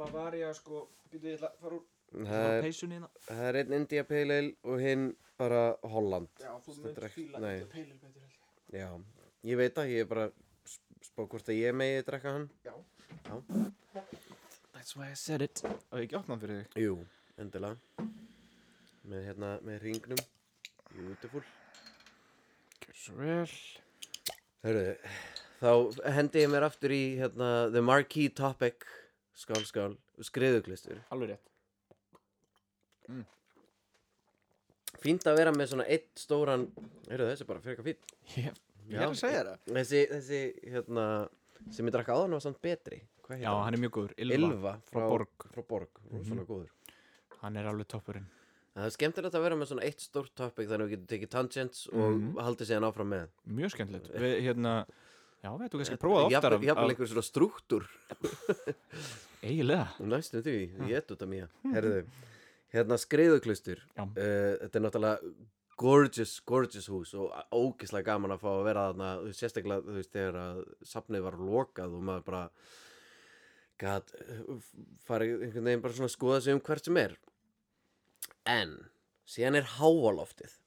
Bavaria, sko, byrjuðu ég ætla að fara úr hérna. það er, peysunina. það er einn India Pale Ale og hinn bara Holland Já, þú Stendur munt ekki- fíla nei. nei. India já, ég veit það, ég er bara sp- spá hvort að ég megi drekka hann That's why I said it Það er ekki opnað fyrir þig Jú, endilega Með hérna, með ringnum Beautiful Gjör svo vel Hörðu, þá hendi ég mér aftur í hérna, The Marquee Topic Skál, skál, skriðuglistur Alveg rétt Fínt að vera með svona eitt stóran Hörðu, þessi er bara fyrir eitthvað fínt Ég, Já. það Þessi, þessi, hérna sem ég drakk áðan var samt betri Hvað Já, hann er mjög góður Ylva, Ylva frá Borg Mhm. Frá Borg, rosalega góður Hann er alveg toppurinn En Það er skemmtilegt að vera með svona eitt stórt topic þannig að við getum tekið tangents og Mhm. haldið síðan áfram með Mjög skemmtilegt Við, hérna Já, við ættum kannski að prófa það oftar Jafnvel jafnvel einhver svona strúktúr Eigilega Næstum því, Ah. ég et út af mér Mhm. Herðu, hérna skriðuklustur Já. uh, Þetta er náttúrulega gorgeous, gorgeous hús og ógislega gaman að fá að vera þarna þú veist, sérstaklega þú veist, þegar að safnið var lokað og maður bara gat uh, farið einhvern veginn bara svona að skoða sig um hvert sem er en síðan er háaloftið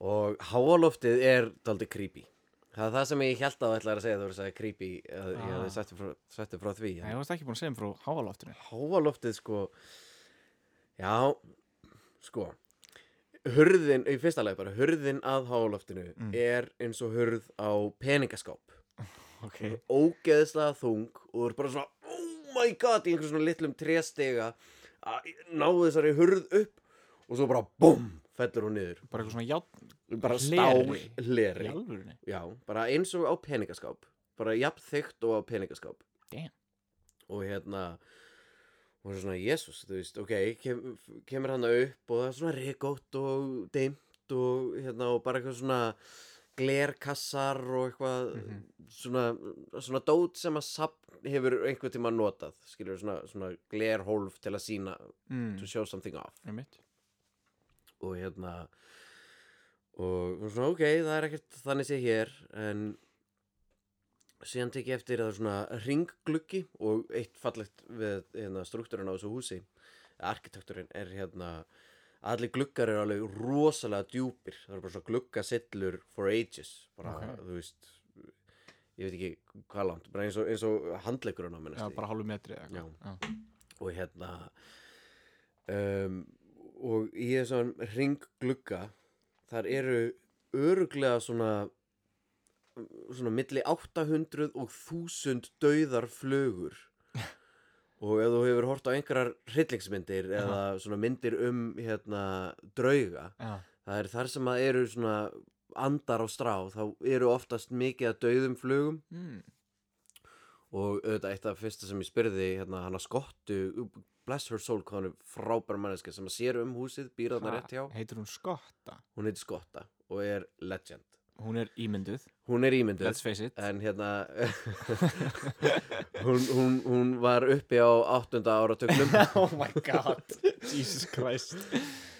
og háaloftið er daldið creepy það er það sem ég held að þú ætlaðir að segja þú voru að segja creepy að ég Ah. hefði sagt frá, sagt frá því en Nei, ég varst ekki búin að segja um frá háaloftinu háaloftið sko já sko hurðin, í fyrsta lagi bara hurðin að háaloftinu er eins og hurð á peningaskáp Ok ógeðslega þung og þú er bara svona oh my god í einhver svona litlum tréstega að ná þessari hurð upp og svo bara búm fellur hún niður Bara eitthvað svona játn bara stál Hleri. Í hleri alvörunni já, bara eins og á peningaskáp bara jafn þykkt og á peningaskáp Damn og hérna og svona Jésús, þú veist, ok kem, kemur hann upp og það er svona reykótt og deymt og hérna og bara eitthvað svona glerkassar og eitthvað Mhm. svona, svona dót sem að sapn hefur einhver tíma notað skilur svona, svona glerhólf til að sína to mm. show something off Það er mitt og hérna og og svona ok, það er ekkert þannig sé hér en síðan tek ég eftir að það er svona ringgluggi og eitt fallegt við hérna, struktúrin á þessu húsi arkitekturinn er hérna allir gluggar eru alveg rosalega djúpir það eru bara svona gluggasillur for ages bara, Ok. þú veist ég veit ekki hvað langt, bara eins og, eins og handlegurinn á minnast Já, bara hálfu metri eða Já. eitthvað. Já. og hérna um, og í þessum ringglugga þar eru öruglega svona svona milli 800 og 1000 dauðar flugur og ef þú hefur hort á einhverjar hryllingsmyndir eða svona myndir um hérna drauga Já. það er þar sem að eru svona andar á strá þá eru oftast mikið að dauðum flugum mm. og auðvitað eitt af fyrsta sem ég spyrði hérna hana skottu bless her soul hvað hún er frábær manneska sem að sér um húsið býr þarna Ha, rétt hjá heitir hún Skotta hún heitir skotta og er legend hún er ímynduð, hún er ímynduð let's face it en hérna (laughs) hún, hún, hún var uppi á áttunda áratögnum (laughs) (laughs) oh my god, Jesus Christ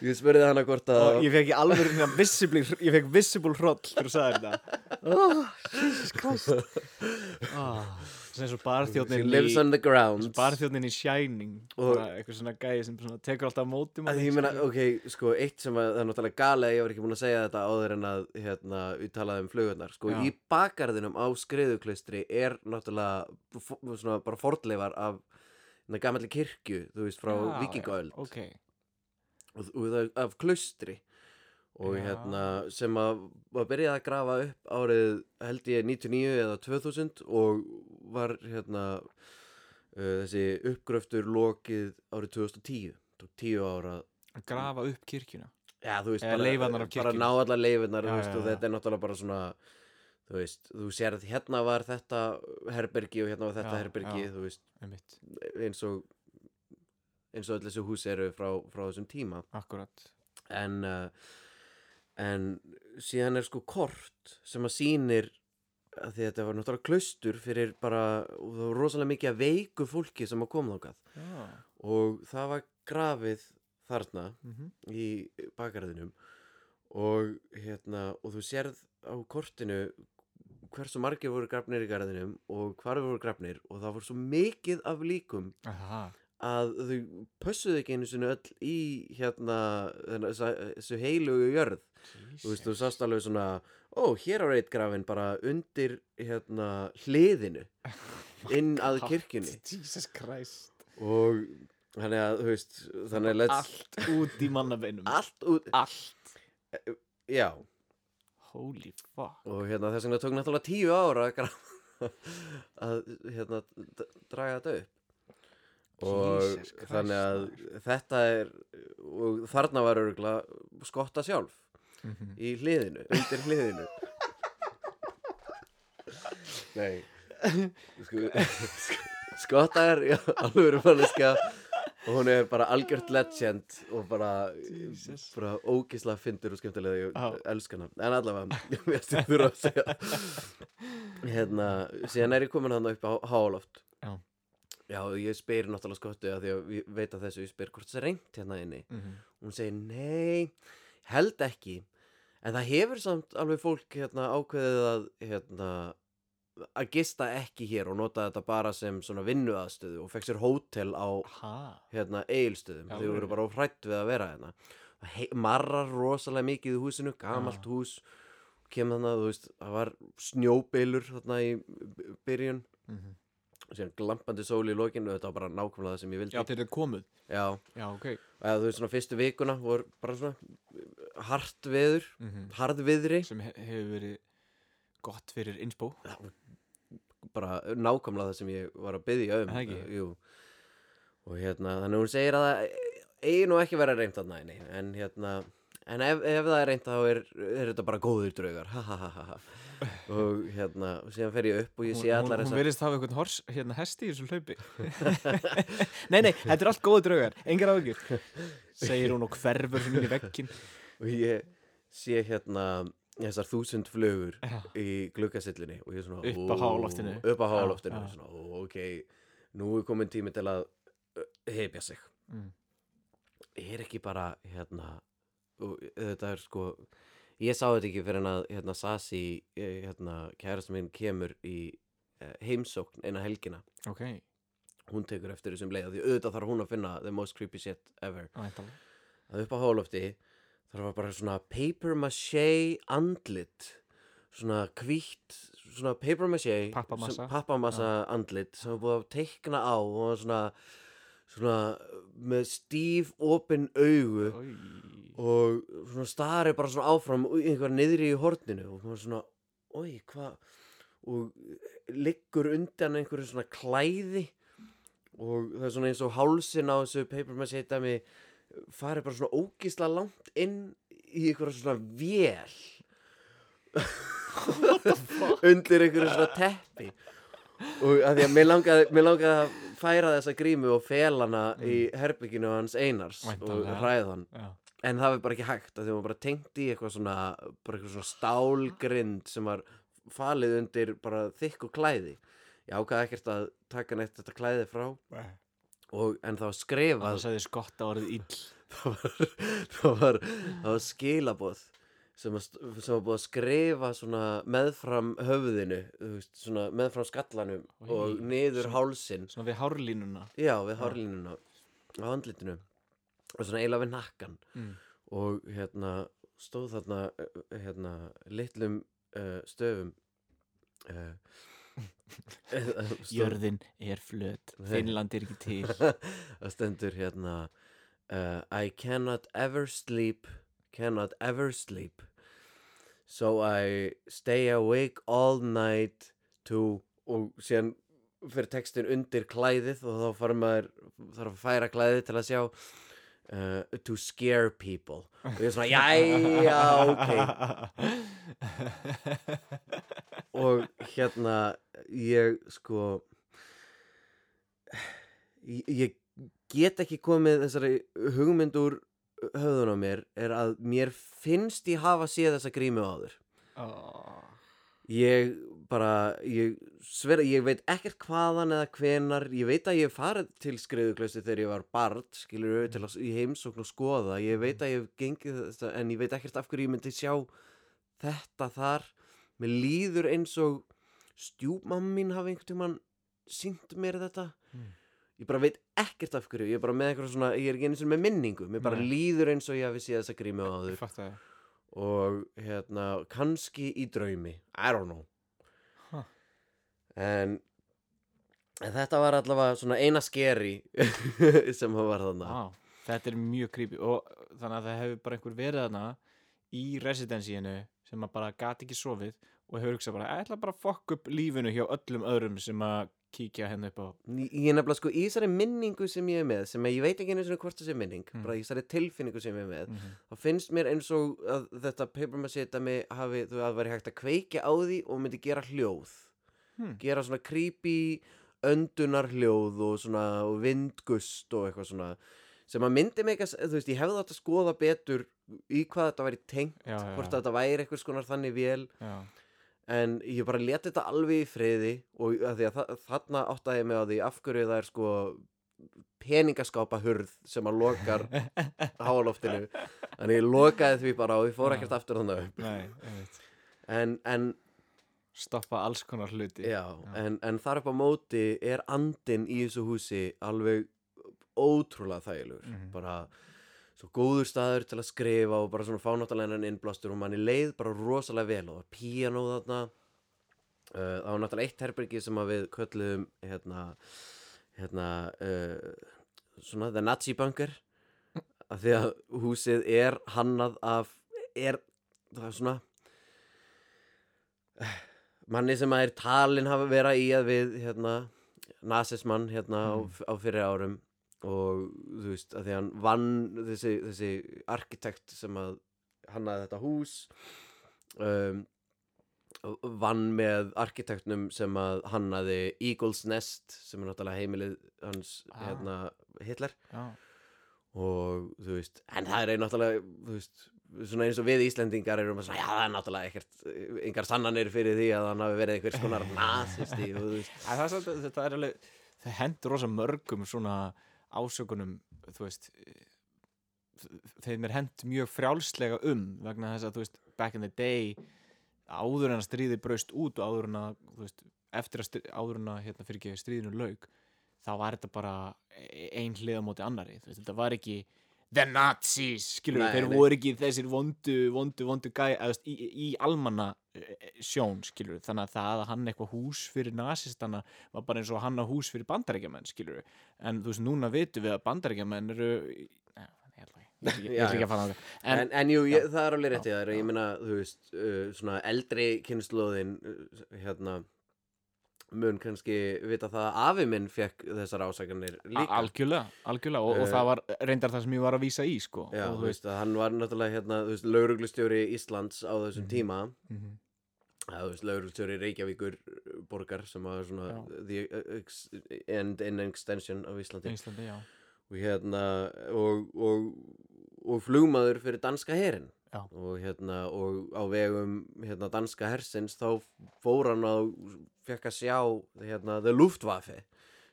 ég spurði hana hvort að ég fekk í alveg hérna visible, ég fekk visible hroll fyrir að sagði þetta (laughs) oh, Jesus (laughs) Christ oh, sem svo she barþjóðnin lives í on the ground barþjóðnin í Shining Og- bara eitthvað svona gæði sem svona tekur alltaf á móti að manni, ég meina, skilur. ok, sko, eitt sem að, það er náttúrulega galið að ég var ekki búin að segja þetta áður en að, hérna, við talaði um flugurnar, sko, Já. í bakgarðinum á skriðuklaustri er náttúrulega f- svona bara fornleifar af na, gamalli kirkju, þú veist, frá Já, vikingaöld já, ok, og, og það- af klaustri og Já. hérna, sem að var byrjað að grafa upp árið held ég 99 eða 2000 og var, hérna uh, þessi uppgröftur lokið árið 2010 tók 10 ára að grafa upp kirkjuna Já, þú veist, Eða leifarnar af bara kirkjunni. ná allar leifarnar, Já, þú veist, já, og já. þetta er náttúrulega bara svona, þú veist, þú sér að hérna var þetta herbergi og hérna var þetta Já, herbergi, já. þú veist, einmitt, eins og, eins og öll þessu hús eru frá, frá þessum tíma. akkurat En, uh, en síðan er sko kort sem að sýnir, að því að þetta var náttúrulega klaustur fyrir bara, og það var rosalega mikið að veiku fólki sem að kom þákað. já, Og það var grafið þarna mhm í bakgarðinum og hérna og þú sérð á kortinu hversu margir voru grafnir í garðinum og hvar voru grafnir og það voru svo mikið af líkum Aha, að þau pössuðu ekki einu sinni öll í hérna þennan- þessa- þessu heilugu jörð þú veist, þú sást alveg svona ó, hér á reitt grafin bara undir hérna hliðinu Oh (laughs) inn að kirkjunni Jesus Christ og þannig að, þú veist, þannig að let's, Allt út í mannabeinum allt út, Allt já Holy fuck og hérna þess vegna tók náttúrulega tíu ára að, gra- (laughs) að hérna d- draga þetta upp og Jesus Christ, þannig að þetta er og þarna var örgla skotta sjálf í hliðinu, undir (laughs) hliðinu nei (laughs) sko, sk- skotta er já, alveg manneska og hún er bara algjört legend og bara, Jesus. bara ógislega fyndur og skemmtilega ég Já. elska hana, en allavega (laughs) ég veist ég þurfa að segja hérna, síðan er ég komin hann upp á háloft Já. Já, og ég spyr náttúrulega skottu að því að ég veit að þessu, ég spyr hvort það er reynt hérna inni Mhm. hún segir nei, held ekki en það hefur samt alveg fólk hérna, ákveðið að hérna, að gista ekki hér og nota þetta bara sem svona vinnuaðstöðu og fekk sér hótel á Ha hérna, eigilstöðum Já, þau voru alveg. bara hrætt við að vera hérna Það hei, marrar rosalega mikið í húsinu gamalt Já. hús kemur þannig að þú veist, það var snjóbylur þarna í byrjun mhm. og síðan glampandi sól í lokinu þetta var bara nákvæmlega það sem ég vildi Já, þeir eru komið Já, Já, ok eða þú veist svona fyrstu vikuna voru bara svona eh, hart veður, harðviðri Mhm. Sem he hefur verið gott fyrir innspó bara nákvæmlega það sem ég var að byggja um Er það ekki? Eh, jú. og hérna þannig að hún segir að það eigi nú ekki vera reynd þarna henni en hérna en ef, ef það er reynd þá er, er þetta bara góðir draugar Ha, ha, ha, ha, ha. og hérna og síðan fer ég upp og ég Hún, sé hún, allar hún þessar verðist hafa einhvern hors, hérna, hesti í þessu hlaupi (laughs) Nei, nei, þetta er allt góða draugar Engar áhyggjur (laughs) Segir hún og hverfur hún inn í vekkin og ég sé hérna þessar þúsund flugur Já. í gluggasillinni og ég svona Upp á ó, háloftinu. upp á háloftinu Já, og já. svona, ó, ok, nú er komin tími til að heipja sig Mm. er ekki bara hérna og þetta er sko ég sá þetta ekki fyrir en að hérna Sasi eh, hérna kærastan minn kemur í eh, heimsókn eina helgina Ok, hún tekur eftir þessum leið af því auðvitað þarf hún að finna the most creepy shit ever væntalega að upp á hálofti þar var bara svona paper mache andlit svona hvítt svona paper mache Pappamassa. sem- pappamassa andlit sem var búið að teikna á og var svona, svona með stíf opin augu Oj. og svona starið bara svona áfram og einhver niðri í horninu og maður svona, oi, hvað og liggur undan einhverju svona klæði og það er svona eins og hálsin á þessu paper maður setja mig farið bara svona ógisla langt inn í einhverja svona vél (laughs) undir einhverju svona teppi og að því að mér langaði, mér langaði að færa þessa grímu og fel hana í herbygginu hans Einars Væntanlega. og hræða hann Já. en það var bara ekki hægt að því að maður bara tengt í eitthvað svona, bara eitthvað svona stálgrind sem var falið undir bara þykku klæði ég ákvaði ekkert að taka neitt þetta klæði frá og, en það var skrifað Það sagði skotta orðið ill (laughs) það var, það var, það var skilabóð sem, að, st- sem var búið að skrifa svona meðfram höfðinu þú veist, svona meðfram skallanum Oj, og niður svona- hálsin Svona við hárlínuna já, við hárlínuna á handlitinu og svona eiginlega við nakkan mm. og hérna stóð þarna eh, hérna litlum uh, stöfum uh, Jörðin er flöt Nei. Finnland er ekki (laughs) til það stendur hérna uh, I cannot ever sleep cannot ever sleep so I stay awake all night to og síðan fyrir textin undir klæðið og þá fara maður þarf að færa klæðið til að sjá uh, to scare people og ég er svona jæja ok (laughs) og hérna ég sko ég, ég get ekki komið þessari hugmynd úr höfðun á mér er að mér finnst ég hafa séð þessa grímu áður oh. ég bara ég, sver, ég veit ekkert hvaðan eða hvenar ég veit að ég hef farið til skriðuklausti þegar ég var barn skilur við til að í heimsókn og skoða ég veit að ég hef gengið þetta en ég veit ekkert af hverju ég myndi sjá þetta þar mér líður eins og stjúpmamma mín hafi einhvern tímann sínt mér þetta Mm. ég bara veit ekkert af hverju ég er bara með eitthvað svona, ég er ekki einu sinni með minningu mér bara Nei. líður eins og ég hafi séð þessa grímu áður Ég fatt að og hérna kannski í draumi I don't know Huh. en, en þetta var allavega svona eina skeri (laughs) sem hann var þarna Vá, þetta er mjög creepy og þannig að það hefur bara einhver verið þarna í residensíinu sem að bara gati ekki sofið og hefur hugsað bara, ég ætla bara að fokk upp lífinu hjá öllum öðrum sem að kíkja henni upp á Ég ég er nefnilega sko í þessari minningu sem ég er með sem ég veit ekki einu svona hvort þessi minning Mm. bara í þessari tilfinningu sem ég er með mm þá finnst mér eins og að þetta papermassetami hafi, þú að væri hægt að kveikja á því og myndi gera hljóð Hmm. gera svona creepy öndunar hljóð og svona og vindgust og eitthvað svona sem að myndi mig að, þú veist, ég hefði átt að skoða betur í hvað þetta væri tengt Já, já, hvort já. þetta væri eitthvað skonar þannig vel Já, en ég bara leti þetta alveg í friði og að því að þa- þarna áttaði ég mig á því af hverju það er sko peningaskápa hurð sem að lokar háaloftinu þannig ég lokaði því bara og ég fór Já. ekkert aftur þannig upp nei, einmitt en, en, Stoppa alls konar hluti já, En, en þar upp á móti er andin í þessu húsi alveg ótrúlega þægilegur Mhm. bara svo góður staður til að skrifa og bara svona fá náttúrulega en innblástur og manni leið bara rosalega vel og það var píanó þarna uh, það var náttúrulega eitt herbergi sem að við kölluðum hérna, hérna uh, svona the Nazi bunker af því að húsið er hannað af er það er svona manni sem að er talin hafa vera í að við hérna, nasismann hérna á, á fyrir árum og þú veist að því hann vann þessi, þessi arkitekt sem að hannaði þetta hús um, vann með arkitektnum sem að hannaði Eagles Nest sem er náttúrulega heimilið hans Ah. hérna, Hitler Já, og þú veist, en það er náttúrulega, þú veist, svona eins og við Íslendingar erum að svona, já það er náttúrulega ekkert engar sannanir fyrir því að hann hafi verið einhvers (laughs) konar nazisti og þú veist, En það, er svolítið- þetta er alveg það hendur rosa mörgum svona ásökunum þú veist þeim er hend mjög frjálslega um vegna þess að þú veist back in the day áður en að stríði braust út og áður en að þú veist eftir að stríði, áður en að hérna, fyrir ekki stríðinu lauk þá var þetta bara e-, ein hliða móti annari þú veist, þetta var ekki the Nazis skilur Nei, þeir nei. voru ekki þessir vondu vondu vondu gæ eða, þú veist, í, í almanna eh, eh, sjón skilur þannig að það að hann eitthvað hús fyrir nazistana var bara eins og hann á hús fyrir bandarækjamenn skilur við, en þú veist, núna vitum við að bandarækjamenn eru í- Nei, ég ætla ekki- ég ætla ekki- ég Já, ætla ekki að fara þangað. en, en, en, jú, ég, það er alveg rétt í Já, það, já. ég meina, þú veist, uh, svona eldri kynnslóðin, uh, hérna, mun kannski vita það að afi minn fekk þessar ásakanir A- líka algjörlega, algjörlega og, og Eh, það var reyndar það sem ég var að vísa í sko Já, og þú veist, að hann var náttúrulega hérna, þú veist, lauruglustjóri Íslands á þessum Mhm. tíma Mhm. að, þú veist, lauruglustjóri Reykjavíkur uh, borgar sem var svona Já. the uh, ex- end in extension af Íslandi Íslandi, já og hérna og, og, og flugmaður fyrir danska herin Já. og hérna og á vegum hérna danska hersins þá fór hann á fekk að sjá hérna The Luftwaffe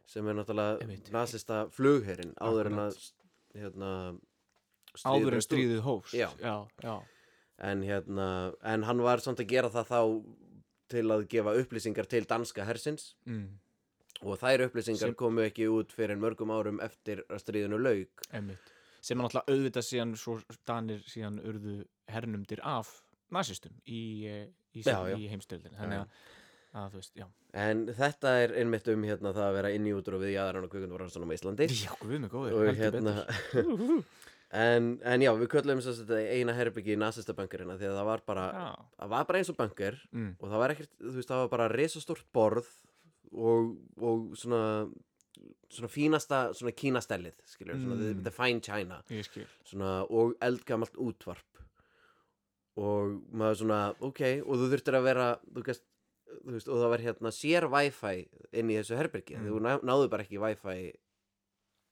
sem er náttúrulega Einmitt. nasista flugherin áður en að Akkurat. hérna stríðið áður en braust út. stríðið hófst Já. já, já. en hérna en hann var samt að gera það þá til að gefa upplýsingar til danska hersins Mm. og þær upplýsingar Sem- komu ekki út fyrir mörgum árum eftir að stríðinu lauk Einmitt. sem er náttúrulega auðvitað síðan svo danir síðan urðu hernumdir af nasistum í, eh, í, Já, já. í heimstöldin þannig Já. að, að þú veist, já en þetta er einmitt um hérna það að vera inn í útrúfið í aðrann og kvikundarvarsanum á Íslandi já, guð mig góður, og heldur hérna (laughs) en, en já, við köllum þess að þetta eina herbyggi í nasistabankurina því að það var bara betur já, það var bara eins og bankur mm. og það var ekkert, þú veist, það var bara risastórt borð og, og svona svona fínasta, svona kínastellið skiljum, svona the, Mm. the fine china ég skil svona, og eldgamalt útvarp og maður svona ok, og þú þurftir að vera þú gæst, þú veist, og það var hérna sér wifi inn í þessu herbyrgi Mm. þú ná, náðu bara ekki wifi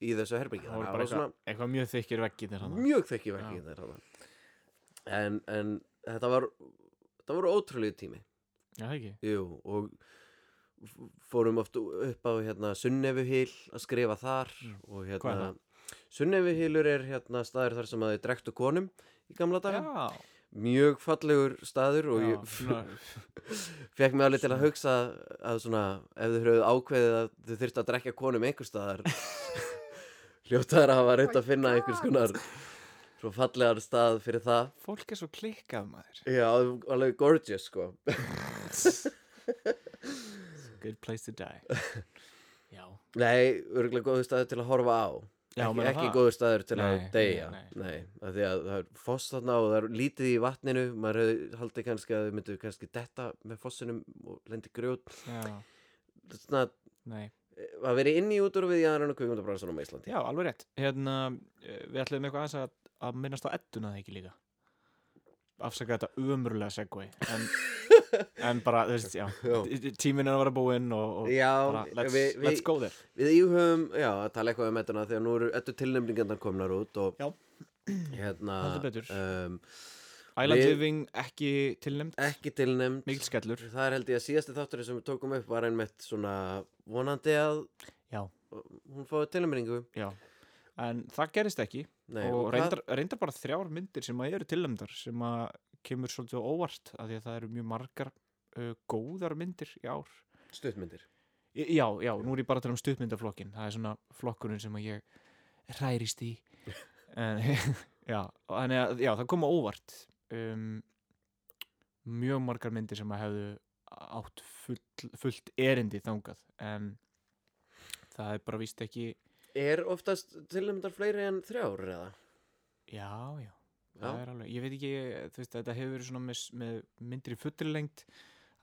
í þessu herbyrgi það voru bara eitthvað, eitthvað mjög þykir veggir þarna mjög þekki verkið þær þarna. en, en þetta var þetta voru ótrúlega tími já, það ekki Jú, og f- fórum oft upp á hérna Sunnefuhil að skrifa þar Mm. og Hvað er hérna Sunnefuhilur er hérna staður þar sem að þau drektu konum í gamla daga, já, mjög fallegur staður og já, ég (laughs) svona, fekk mig alveg til að Svona. hugsa að svona ef þau höfðu ákveðið að þau þyrftu að drekja konum einhver staðar (laughs) hljótaður að hafa reynd að finna einhvers konar svo fallegar stað fyrir það fólk er svo klikkað maður Já, alveg gorgeous sko good place to (laughs) die já, Nei, örgulega góðu staður til að horfa á Já, Ekki, meina ekki það. góðu staður til að Nei, deyja nei, Nei, af því að það er foss þarna og það er lítið í vatninu Maður hefði haldið kannski að þau myndu kannski detta með fossinum og lendi grjót já, Svona, nei eh, að vera inni út úr við Jæðan og Kvíkmyndabransunum á Íslandi já, alveg rétt hérna, eh, við ætlum eitthvað aðeins að, að minnast á edduna það ekki líka afsaka þetta umurlega segway (laughs) en, en bara, þú veist, já Já. t- tíminn er að vera búinn og, og Já, bara, let's, við, let's við, go there við íhugum, já, að tala eitthvað um þetta Þegar nú eru öllu tilnefningarnar komnar út og Já. Hérna Heldur betur. um, Island við- Living ekki tilnæmt Ekki tilnefnd mikil skellur Það er held ég að síðasti þáttur sem við tókum upp var einmitt svona vonandi að Já. hún fáið tilnæmingu já. en það gerist ekki Nei, og hvað- reyndar, reyndar bara þrjár myndir sem að eru tilnæmdar sem að kemur svolítið á óvart af því að það eru mjög margar uh, góðar myndir í ár stuttmyndir Í- Já, já, nú er ég bara að tala um stuðmyndaflokkin Það er svona flokkurinn sem að ég rærist í en, (laughs) Já, þannig að já, það koma óvart um, Mjög margar myndir sem að hefðu átt full, fullt erindi þangað en það er bara víst ekki Er oftast tilnæmdar fleiri en þrjár eða? Já, já, Já. það er alveg Ég veit ekki, þú veist, þetta hefur verið svona með, s- með myndir í fullri lengt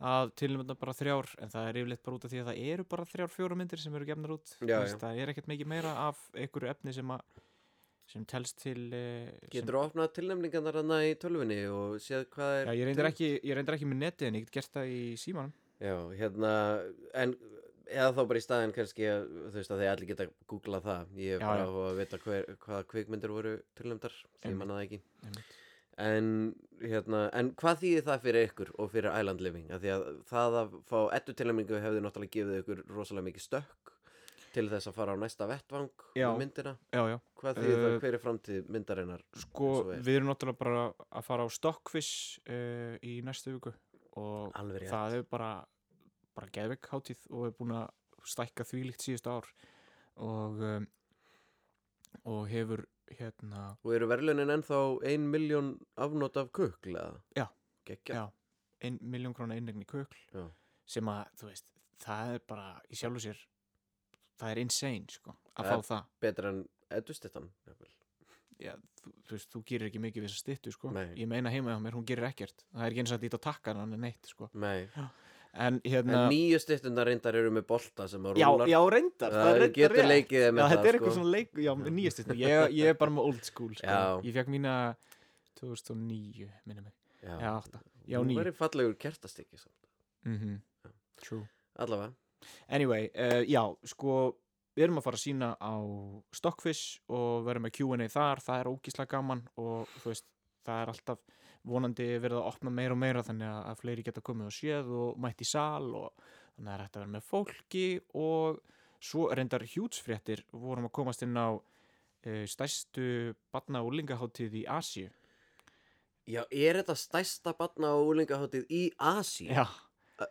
að tilnæmda bara þrjár en það er yfirleitt bara út af því að það eru bara þrjár fjóra myndir sem eru gefnar út Já, Þú veist, já. það er ekkert mikið meira af einhverju efni sem að sem telst til eh, sem, Getur þú opnað tilnæmningarnar hana í tölvunni og séð hvað er já, ég, reyndar ekki, ég reyndar ekki með netið en ég get gert það í símanum Já, hérna en eða þá bara í staðin kannski að, þú veist að þið allir geta googlað það ég er Já, bara já. á að vita hver, hvaða kvikmyndir voru tilnæmdar því Einmitt. manna það ekki Einmitt. en, hérna, en hvað þýðir það fyrir ykkur og fyrir Island Living af því að það að fá ettu tilnæmingu hefði náttúrulega gefið ykkur rosalega mikið stökk til þess að fara á næsta vettvang Já. með myndina Já, já, hvað þýðir Uh, það, hver er framtíð myndarinnar sko, Eins og er. við erum náttúrulega bara að fara á Stockfish uh, í næstu viku og alveg rétt það er bara bara geðveik hátíð og er búin að stækka þvílíkt síðustu ár og um, og hefur hérna og eru verðlunin ennþá ein miljón afnót af kukla Já. Gekja. Já. ein miljón krónar innegni kökl Já. sem að, þú veist, það er bara í sjálfu sér, það er insane sko, að Það er- fá það betra en edustittan Já, þú, þú veist, þú gerir ekki mikið við þess að styttu sko, Nei. ég meina heima hjá mér, hún gerir ekkert það er ekki eins að dýta takkan hann er neitt sko, nei, en En hérna nýju styttundar reyndar eru með bolta sem að já, rúlar já, reyndar, það er Það reyndar getur rétt. leikið þeim Já, með þetta er sko. eitthvað svona leik, já, nýjast ég, ég er bara með old school sko. Já. Ég fekk mína 2009, minna mig Já, Já, átta, já, Nú níu verið fallegur kertastikki samt. mm Já. True Allavega Anyway, uh, já, sko Við erum að fara að sína á Stockfish og verðum með Q&A þar, það er ógíslega gaman og þú veist, það er alltaf vonandi verið að opna meira og meira þannig að, að fleiri geta komið og séð og mætt í sal og þannig að það er hægt að vera með fólki og svo reyndar hjútsfréttir vorum að komast inn á uh, stærstu batna og lingaháttíð í Asíu. Já, er þetta stærsta batna og úlingaháttið í Asi?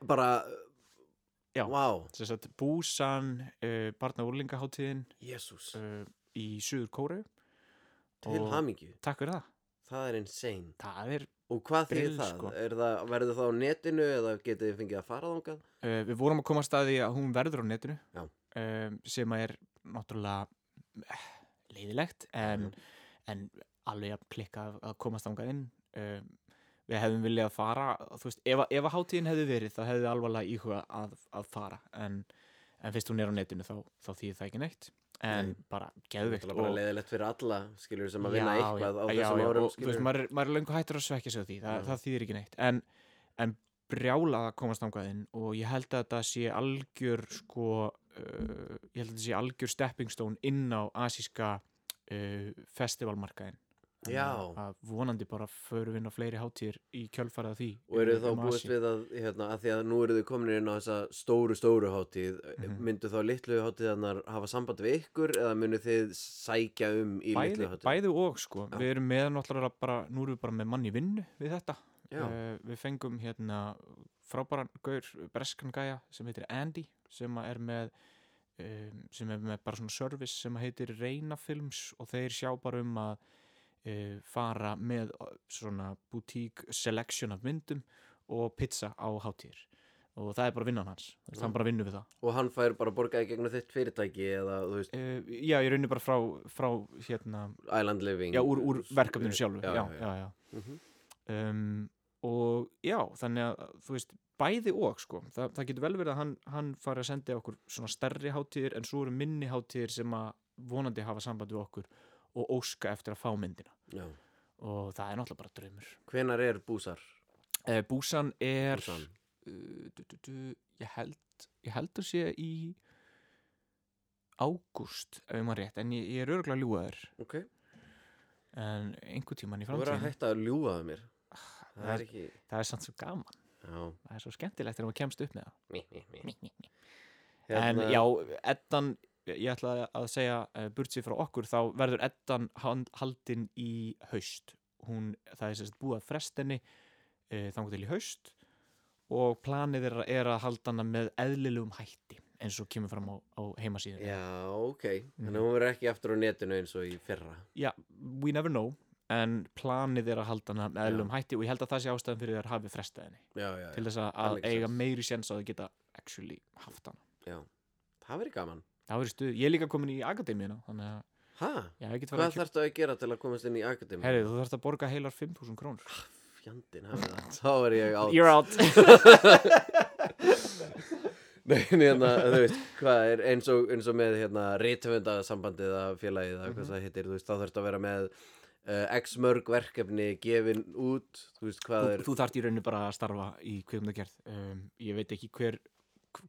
Bara, Já. wow, Þess að Búsan, uh, barna og lingaháttíðin jésús uh, í Suður Kóru. Til hamingju, Takk fyrir það. það er insane Það er, Og hvað þýðir Brill, það? sko. Er það? Verður það á netinu eða getið þið fengið að fara þangað? uh, við vorum að koma að staði að hún verður á netinu Já. um, sem að er náttúrulega eh, leiðilegt en, en alveg að klikka að- að komast þangað inn um, við hefðum viljað að fara þú veist, ef, að- ef að hátíðin hefði verið þá hefði alvarlega íhuga að, að fara en, en fyrst hún er á netinu þá, þá þýðir það ekki neitt en Nei. bara Það geðveikt er bara og- leiðilegt fyrir alla, skilur, sem um að vinna Já, eitthvað á já, þessum árum, Mm. já, og, þú veist, skilur maður, er- maður er löngu hættur að svekja sig á því, það, Já. það þýðir ekki neitt en, en brjála að komast þangaðinn og ég held að þetta sé algjör sko, uh, ég held að þetta sé algjör stepping stone inn á asíska uh, festivalmarkaðin Þannig Já. að vonandi bara förum við inn á fleiri hátíðir í kjölfarið af því Og eru um- þá um búist Asíu. við að, hérna, að því að nú eru þið komin inn á þessa stóru, stóru hátíð Mhm. Myndu þá litlu hátíðarnar hafa samband við ykkur eða munu þið sækja um í bæði, litlu hátíð? bæði og sko, Já. við erum með náttúrulega bara, nú erum við bara með mann í vinnu við þetta Já, uh, við fengum hérna frábæran gaur breskan gæja sem heitir Andy sem að er með um, sem er með bara svona service sem að heitir Reynafilms og þeir sjá bara um að uh, fara með uh, svona boutique selection af myndum og pizza á hátíðir og það er bara vinnan hans, mm. Já. hann bara vinnur við það og hann fær bara borgaði gegnum þitt fyrirtæki eða, þú veist, uh, já, ég raunir bara frá, frá hérna, Island Living já, úr, úr verkefninu sjálfu Já, já, já. já, já. Mhm. um, og já, þannig að þú veist, bæði og sko Þa, það getur vel verið að hann, hann fari að senda okkur svona stærri hátíðir en svo eru minni hátíðir sem að vonandi hafa samband við okkur og óska eftir að fá myndina já. og það er náttúrulega bara draumur Hvenar er búsar? uh, Búsan er Búsan? Uh, du, du, du, ég held ég heldur sé í ágúst ef maður rétt, en ég, ég er örgulega ljúaður Ok, en einhver tíman í þú verður að framtíðin hætta að ljúgaðu mér Það er ekki, Ah, það er samt svo gaman, já það er svo skemmtilegt þegar maður kemst upp með það Mí, mí, mí. En Hérna- já, Eddan, ég ætla að segja uh, burtsið frá okkur, þá verður Eddan hand, haldin í haust. Hún, það er sérst búið að frestinni uh, þangur til í haust og planið er, er að halda hana með eðlilegum hætti eins og kemur fram á, á heimasíðinu. Já, ok, Mhm. þannig að hún verður ekki aftur á netinu eins og í fyrra Já, we never know, en planið er að halda hana með eðlilegum hætti og ég held að það sé ástæðan fyrir þær hafi frestaðinni Já, já, til já, þess að, það að makes eiga sense. meiri séns á að geta actually haft hana. já. Það verður gaman Það verður stuð, ég er líka komin í akademíuna, þannig að Ha? já, ég get farið að Hvað þarftu að gera til að komast inn í akademi? Herri, þú þarfst að borga heilar 5.000 krónur Fjandinn hafi það Þá er ég á (laughs) You're out Nei, en hérna, þú veist, hvað er eins og, eins og með hérna rithöfundasambandið að félagið að Mhm. hvað það hittir, þú veist, þá þarftu að vera með uh, x mörg verkefni gefin út, þú veist, hvað Þú, er þú þarft í rauninni bara að starfa í kvikmyndagerð um, Ég veit ekki hver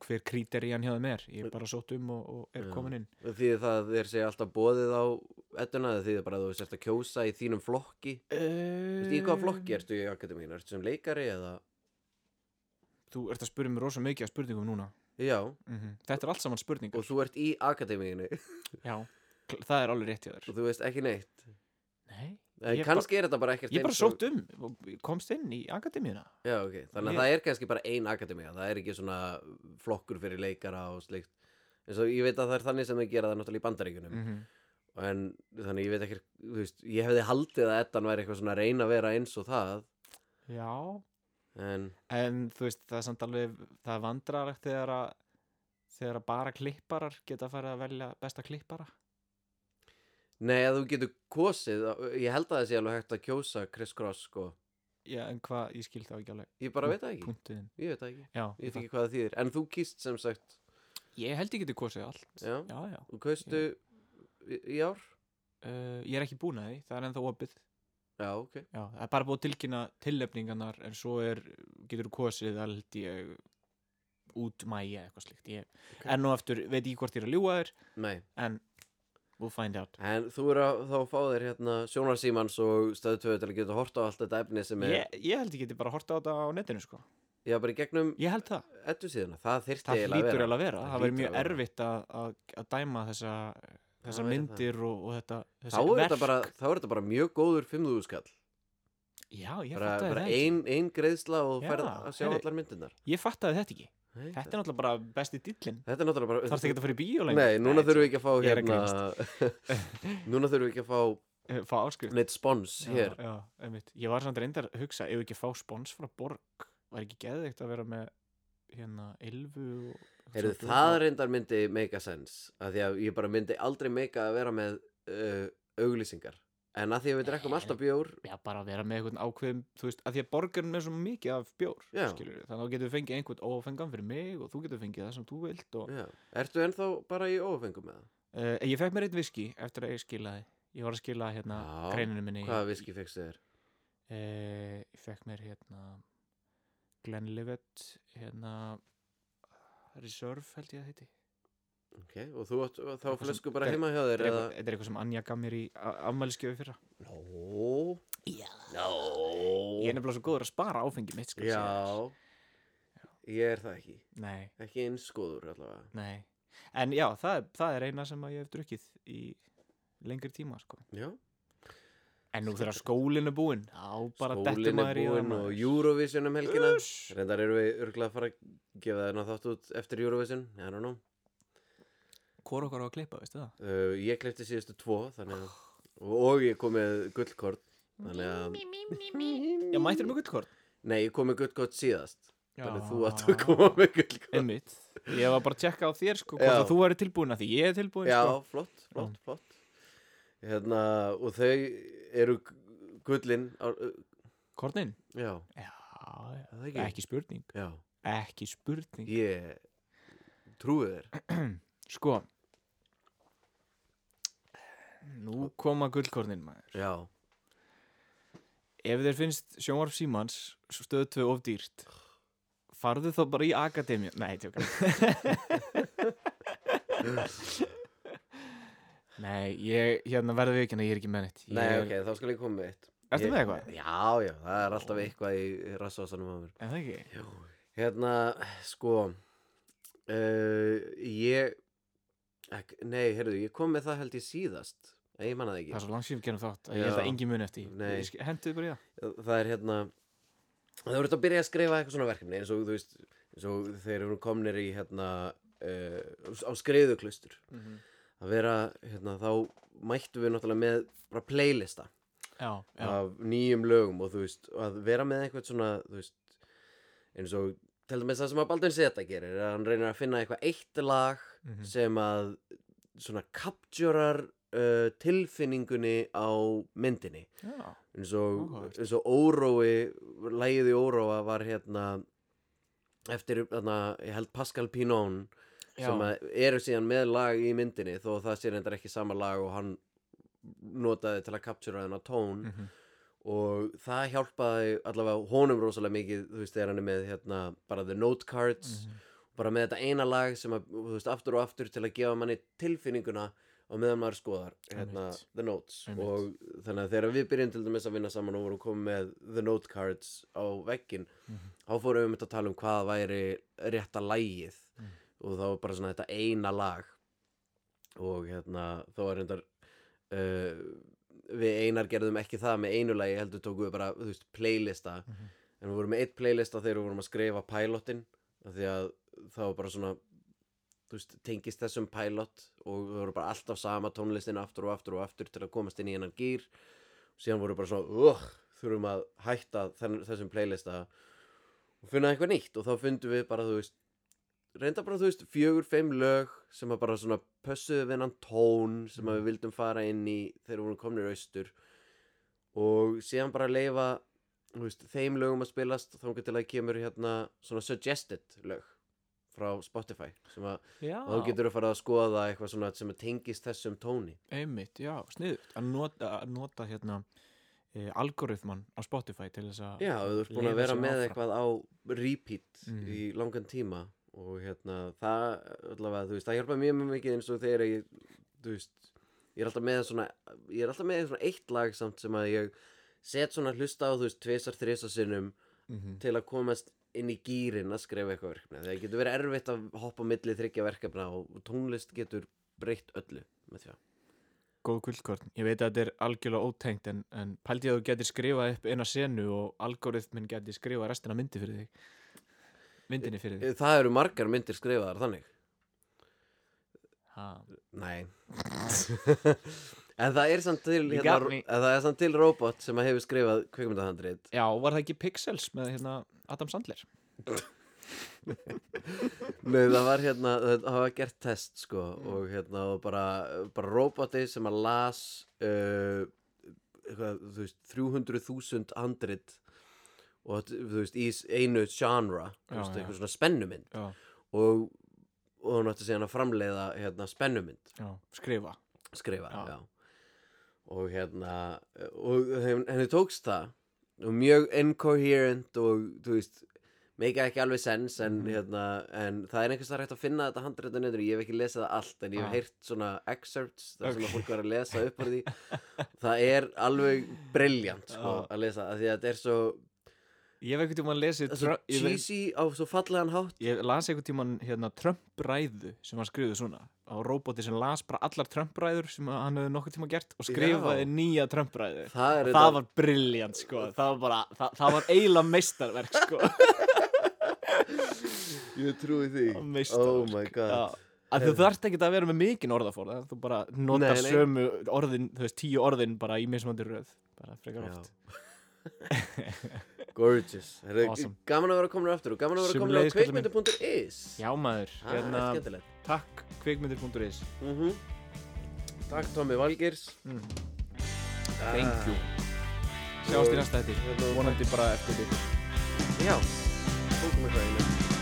hver kríterían hjá þeim er Ég er bara sótt um og, og er Já. komin inn því það þeir segja alltaf bóðið á ettuna, því það bara þú sérst að kjósa í þínum flokki Þú veist, Í Um, hvaða Mm. flokki ertu í akademíinu? Ertu sem leikari eða? Þú ert að spyrja mér rosa mikið að spurningum núna Já, mm Þetta er allt saman spurningar og þú ert í akademíinu og Já, kl- það er alveg rétt hjá þér (laughs) þú veist ekki neitt. Nei, En Ég kannski er þetta bara ekkert ég bara eins og- sótt um og komst inn í akademíuna Já, ok. Þannig að Ég- það er kannski bara ein akademía. Það er ekki svona flokkur fyrir leikara og slikt. En svo ég veit að það er þannig sem þau gera það náttúrulega í bandaríkunum. mm En þannig ég veit ekki, þú veist, ég hefði haldið að ettan væri eitthvað svona að reyna að vera eins og það. Já, En en þú veist, það er samt alveg það er vandrarlegt þegar að þegar að bara klipparar geta að fara að velja besta klippara nei, að þú getur kosið, ég held að það sé alveg hægt að kjósa Chris Cross, sko. já, en hvað, ég skil þá ekki alveg Ég bara veit það ekki, punktuðin, ég veit það ekki já, Ég veit ekki hvað það þýðir, en þú kýst sem sagt ég held ég geti kosið allt Já, já, já, þú kaustu í, í ár uh, ég er ekki búin að því það er ennþá opið, Já, ok, já, það er bara búið að tilkynna tilnefningarnar, en svo er getur kosið, það held ég út mæja eitthvað slíkt ég, Ok. enn og aftur, veit ég hvort ég er að ljúga þér nei en we'll find out En þú er að þá fá þér hérna sjónarsímans og stöðu tvöðu til að geta hort á allt þetta efni sem er ég, ég held ég geti bara að horta á þetta á netinu sko. Já, bara í gegnum ég held það ettu síðuna, það þyrfti það eiginlega að lítur vera. eiginlega að vera, Það það verður hlýtur mjög að vera. erfitt að, að, að dæma þessa, þessar væri það. myndir og, og þetta, Þá þessi er, þetta bara, þá er þetta bara mjög góður 5.000 skall já, ég bara, fattaði bara það ekki ein, ein greiðsla og Já, færð að sjá heyrðu. allar myndirnar ég fattaði þetta ekki, Nei, þetta er náttúrulega bara besti dillin þetta er náttúrulega bara þarfst ekki að fara í bíó lengur Nei, núna (laughs) þurfum við ekki að fá Ég er að hérna (laughs) Núna þurfum við ekki að fá ekki fá áskrift neitt spons hér já, já, einmitt. ég var samt reyndar að hugsa ef ekki að fá spons frá borg var ekki geðveikt að vera með hérna, Ylfu og Heyrðu, svona það bjóða. reyndar myndi make a sense af því að ég bara myndi aldrei make að vera með uh, auglýsingar en að því að við drekkum Nei. alltaf bjór Já, bara að vera með einhvern ákveðum, þú veist, að því að borgarinn er með svo mikið af bjór, Já. skilur þannig að þú getur fengið einhvern ófengan fyrir mig og þú getur fengið það sem þú vilt og Já. Ertu ennþá bara í ófengum með það? Uh, ég fekk mér einn viski eftir að ég skilaði Ég var að skila hérna Já, greininu minni Hvaða viski fegstu þér? Uh, ég fekk mér hérna Glenlivet hérna Reserve held ég að heiti Ok, og þú átt þá Eitthvað sem- flösku bara Þetta er- heima hjá Þetta þér er eða? eitthvað- þetta er eitthvað sem Anja gaf mér í afmæliskjöfi fyrra Nó Já Ég Nó er nefnilega svo góður að spara áfengi mitt sko, skal ég segja Já Ég er það ekki þér. Nei, Ekki einskóður allavega nei En já, það er, það er eina sem að ég hef drukkið í lengri tíma sko. Já En nú þegar skólinn er búinn Á bara dettur Skólinn er maður í það búinn og maður. Eurovision um helgina Uss. Reyndar eru við örgulega að fara að gefa þeirna þátt út eftir Eurovision I don't know Hvor okkar á að klippa, veistu það? uh, Ég klefti síðustu tvo þannig að og- Og ég kom með gullkort Þannig að Já, mættir með gullkort Nei, ég kom með gullkort síðast Já. Þannig að þú átt að koma með gullkort Einmitt Ég var bara að tjekka á þér sko Já. Hvort að þú væri tilbúin að því ég er tilbúin Já, sko flott, flott, flott Hérna, og þau eru gu- gullin á, Kornin? Já, Já, já. er það ekki ekki spurning Já, Ekki spurning ég trúi þér Sko Nú koma gullkornin maður Já, Ef þér finnst sjónvarf símans stöðu tvö of dýrt Farðu þá bara í akademi Nei, tjóka (laughs) Nei, ég hérna verðu ekki að ég er ekki með neitt Ég nei, er- ok, þá skal ég koma með eitt Ertu Ég- með eitthvað? Já, já, það er alltaf eitthvað í rassvásanum á mér En það ekki? Hérna, sko uh, Ég ek, Nei, heyrðu, ég kom með það held ég síðast Nei, ég manna það Það er ekki svo langt síðan við gerum þátt að ég held Já. að engin mun eftir því. Nei. Ég sk- Hentu þið bara í það Það er hérna Það voru þetta að byrja að skrifa eitthvað svona verkefni eins og þú veist, eins og þeir eru komnir í hérna uh, á skriðuklustur að vera, hérna, þá mættum við náttúrulega með bara playlista Já, já, af nýjum lögum og þú veist, og að vera með eitthvað svona, þú veist, eins og til dæmis það sem að Baldur's Zeta gerir, er að hann reynir að finna eitthvað eitt lag Mhm. sem að svona capturar uh, tilfinningunni á myndinni já eins og, Áhugavert. eins og órói, lægið í óróa var hérna eftir, þarna, ég held Pascal Pinón sem Já, að eru síðan með lag í myndinni þó að það sé reyndar ekki sama lag og hann notaði til að kaptjura þennan tón Mhm. og það hjálpaði allavega honum rosalega mikið þú veist þegar hann er með hérna bara the note cards Mhm. bara með þetta eina lag sem að þú veist aftur og aftur til að gefa manni tilfinninguna og meðan maður skoðar hérna Einmitt. the notes Einmitt. og þannig að þegar við byrjum til dæmis að vinna saman og vorum komið með the note cards á veggin Mhm. þá fórum við með að tala um hvað væri rétta lagið Mm. og þá var bara svona þetta eina lag og hérna þá var reyndar uh, við einar gerðum ekki það með einu lagi heldur tókum við bara, þú veist, playlista Mhm. en við vorum með eitt playlista þegar við vorum að skrifa pilotin af því að það var bara svona þú veist, tengist þessum pilot og við vorum bara alltaf sama tónlistin aftur og aftur og aftur til að komast inn í hennan gýr og síðan vorum við bara svona uh, þurfum að hætta þenn, þessum playlista og finna eitthvað nýtt og þá fundum við bara, þú veist reynda bara, þú veist, fjögur, fimm lög sem að bara svona pössuðu við hennan tón sem að við vildum fara inn í þegar við vorum komnir austur og síðan bara leifa þú veist, þeim lögum að spilast þá getur það kemur hérna svona suggested lög frá Spotify sem að já, og þá getur þú farið að skoða eitthvað svona sem tengist þessum tóni einmitt, já, sniðugt að nota, að nota hérna e, algoritman á Spotify til þess að Já, þú ert búin að Leiða vera sig með áfram. eitthvað á repeat Mhm. í langan tíma og hérna það allavega, þú veist, það hjálpa mjög mjög mikið eins og þegar ég, þú veist ég er alltaf með svona, ég er alltaf með svona eitt lag samt sem að ég set svona hlusta á, þú veist, tvisar, þrisar sinnum Mhm. til að komast inn í gýrin að skrifa eitthvað verkefni það getur verið erfitt að hoppa á milli þryggja verkefna og tónlist getur breytt öllu með því að góð kvöldkorn, ég veit að þetta er algjörlega ótengt en, en pældi ég að þú getur skrifað upp eina senu og algoritmin getur skrifað restina myndi fyrir þig myndinni fyrir þig það eru margar myndir skrifaðar þannig ha. Nei (laughs) En það er samt til You hérna, got me. en það er samt til robot sem að hefur skrifað kvikmyndahandrið já, var það ekki Pixels með hérna, Adam Sandler Nei, það var hérna, það var gert test sko og hérna og bara, bara roboti sem að las uh, eitthvað, þú veist, 300.000 handrið og þú veist, í einu genre, þú veist, Já, já. eitthvað svona spennumynd já, og, og hún átti síðan að framleiða hérna spennumynd já, skrifa skrifa Já. já. og hérna og þeim- henni tókst það og mjög incoherent og þú veist meika ekki alveg sens en, Mhm. hérna, en það er einhvers það hægt að finna þetta handrættu neyður ég hef ekki lesið það allt en ég hef Ah. heyrt svona excerpts þar sem Ok. að fólk var að lesa (laughs) upp úr því það er alveg briljant sko, Já. að lesa að því að þetta er svo, ég veit ekki um að lesi svo Trump, ég, veit- cheesy á svo fallegan hátt ég las einhvern tíman hérna, Trump-ræðu sem hann skrifið svona á roboti sem las bara allar Trump-ræður sem að hann hefði nokkuð tíma gert og skrifaði Já. nýja Trump-ræðu það er það var brilljant sko það var, bara, það, það var eiginlega meistarverk (laughs) sko ég trúi því oh meistarverk my god sko. Já, að þú þarft ekki að vera með mikinn orðafór þú bara notar Nei, nei. sömu orðin þú veist tíu orðin bara í mismandi röð bara frekar Já. oft (laughs) Gorgeous Heru, Awesome. Gaman að vera komin aftur og gaman að vera komin á Sömuleiðis, kallinn minn. kveikmyndu.is já maður, Það er hérna, Ah, skemmtilegt takk kvikmyndir.is mm Takk Tommi Valgeirs Ah. mm. thank you sjáumst í næsta þetta Hérna, vonandi bara eftir því Já, fólkum eitthvað einu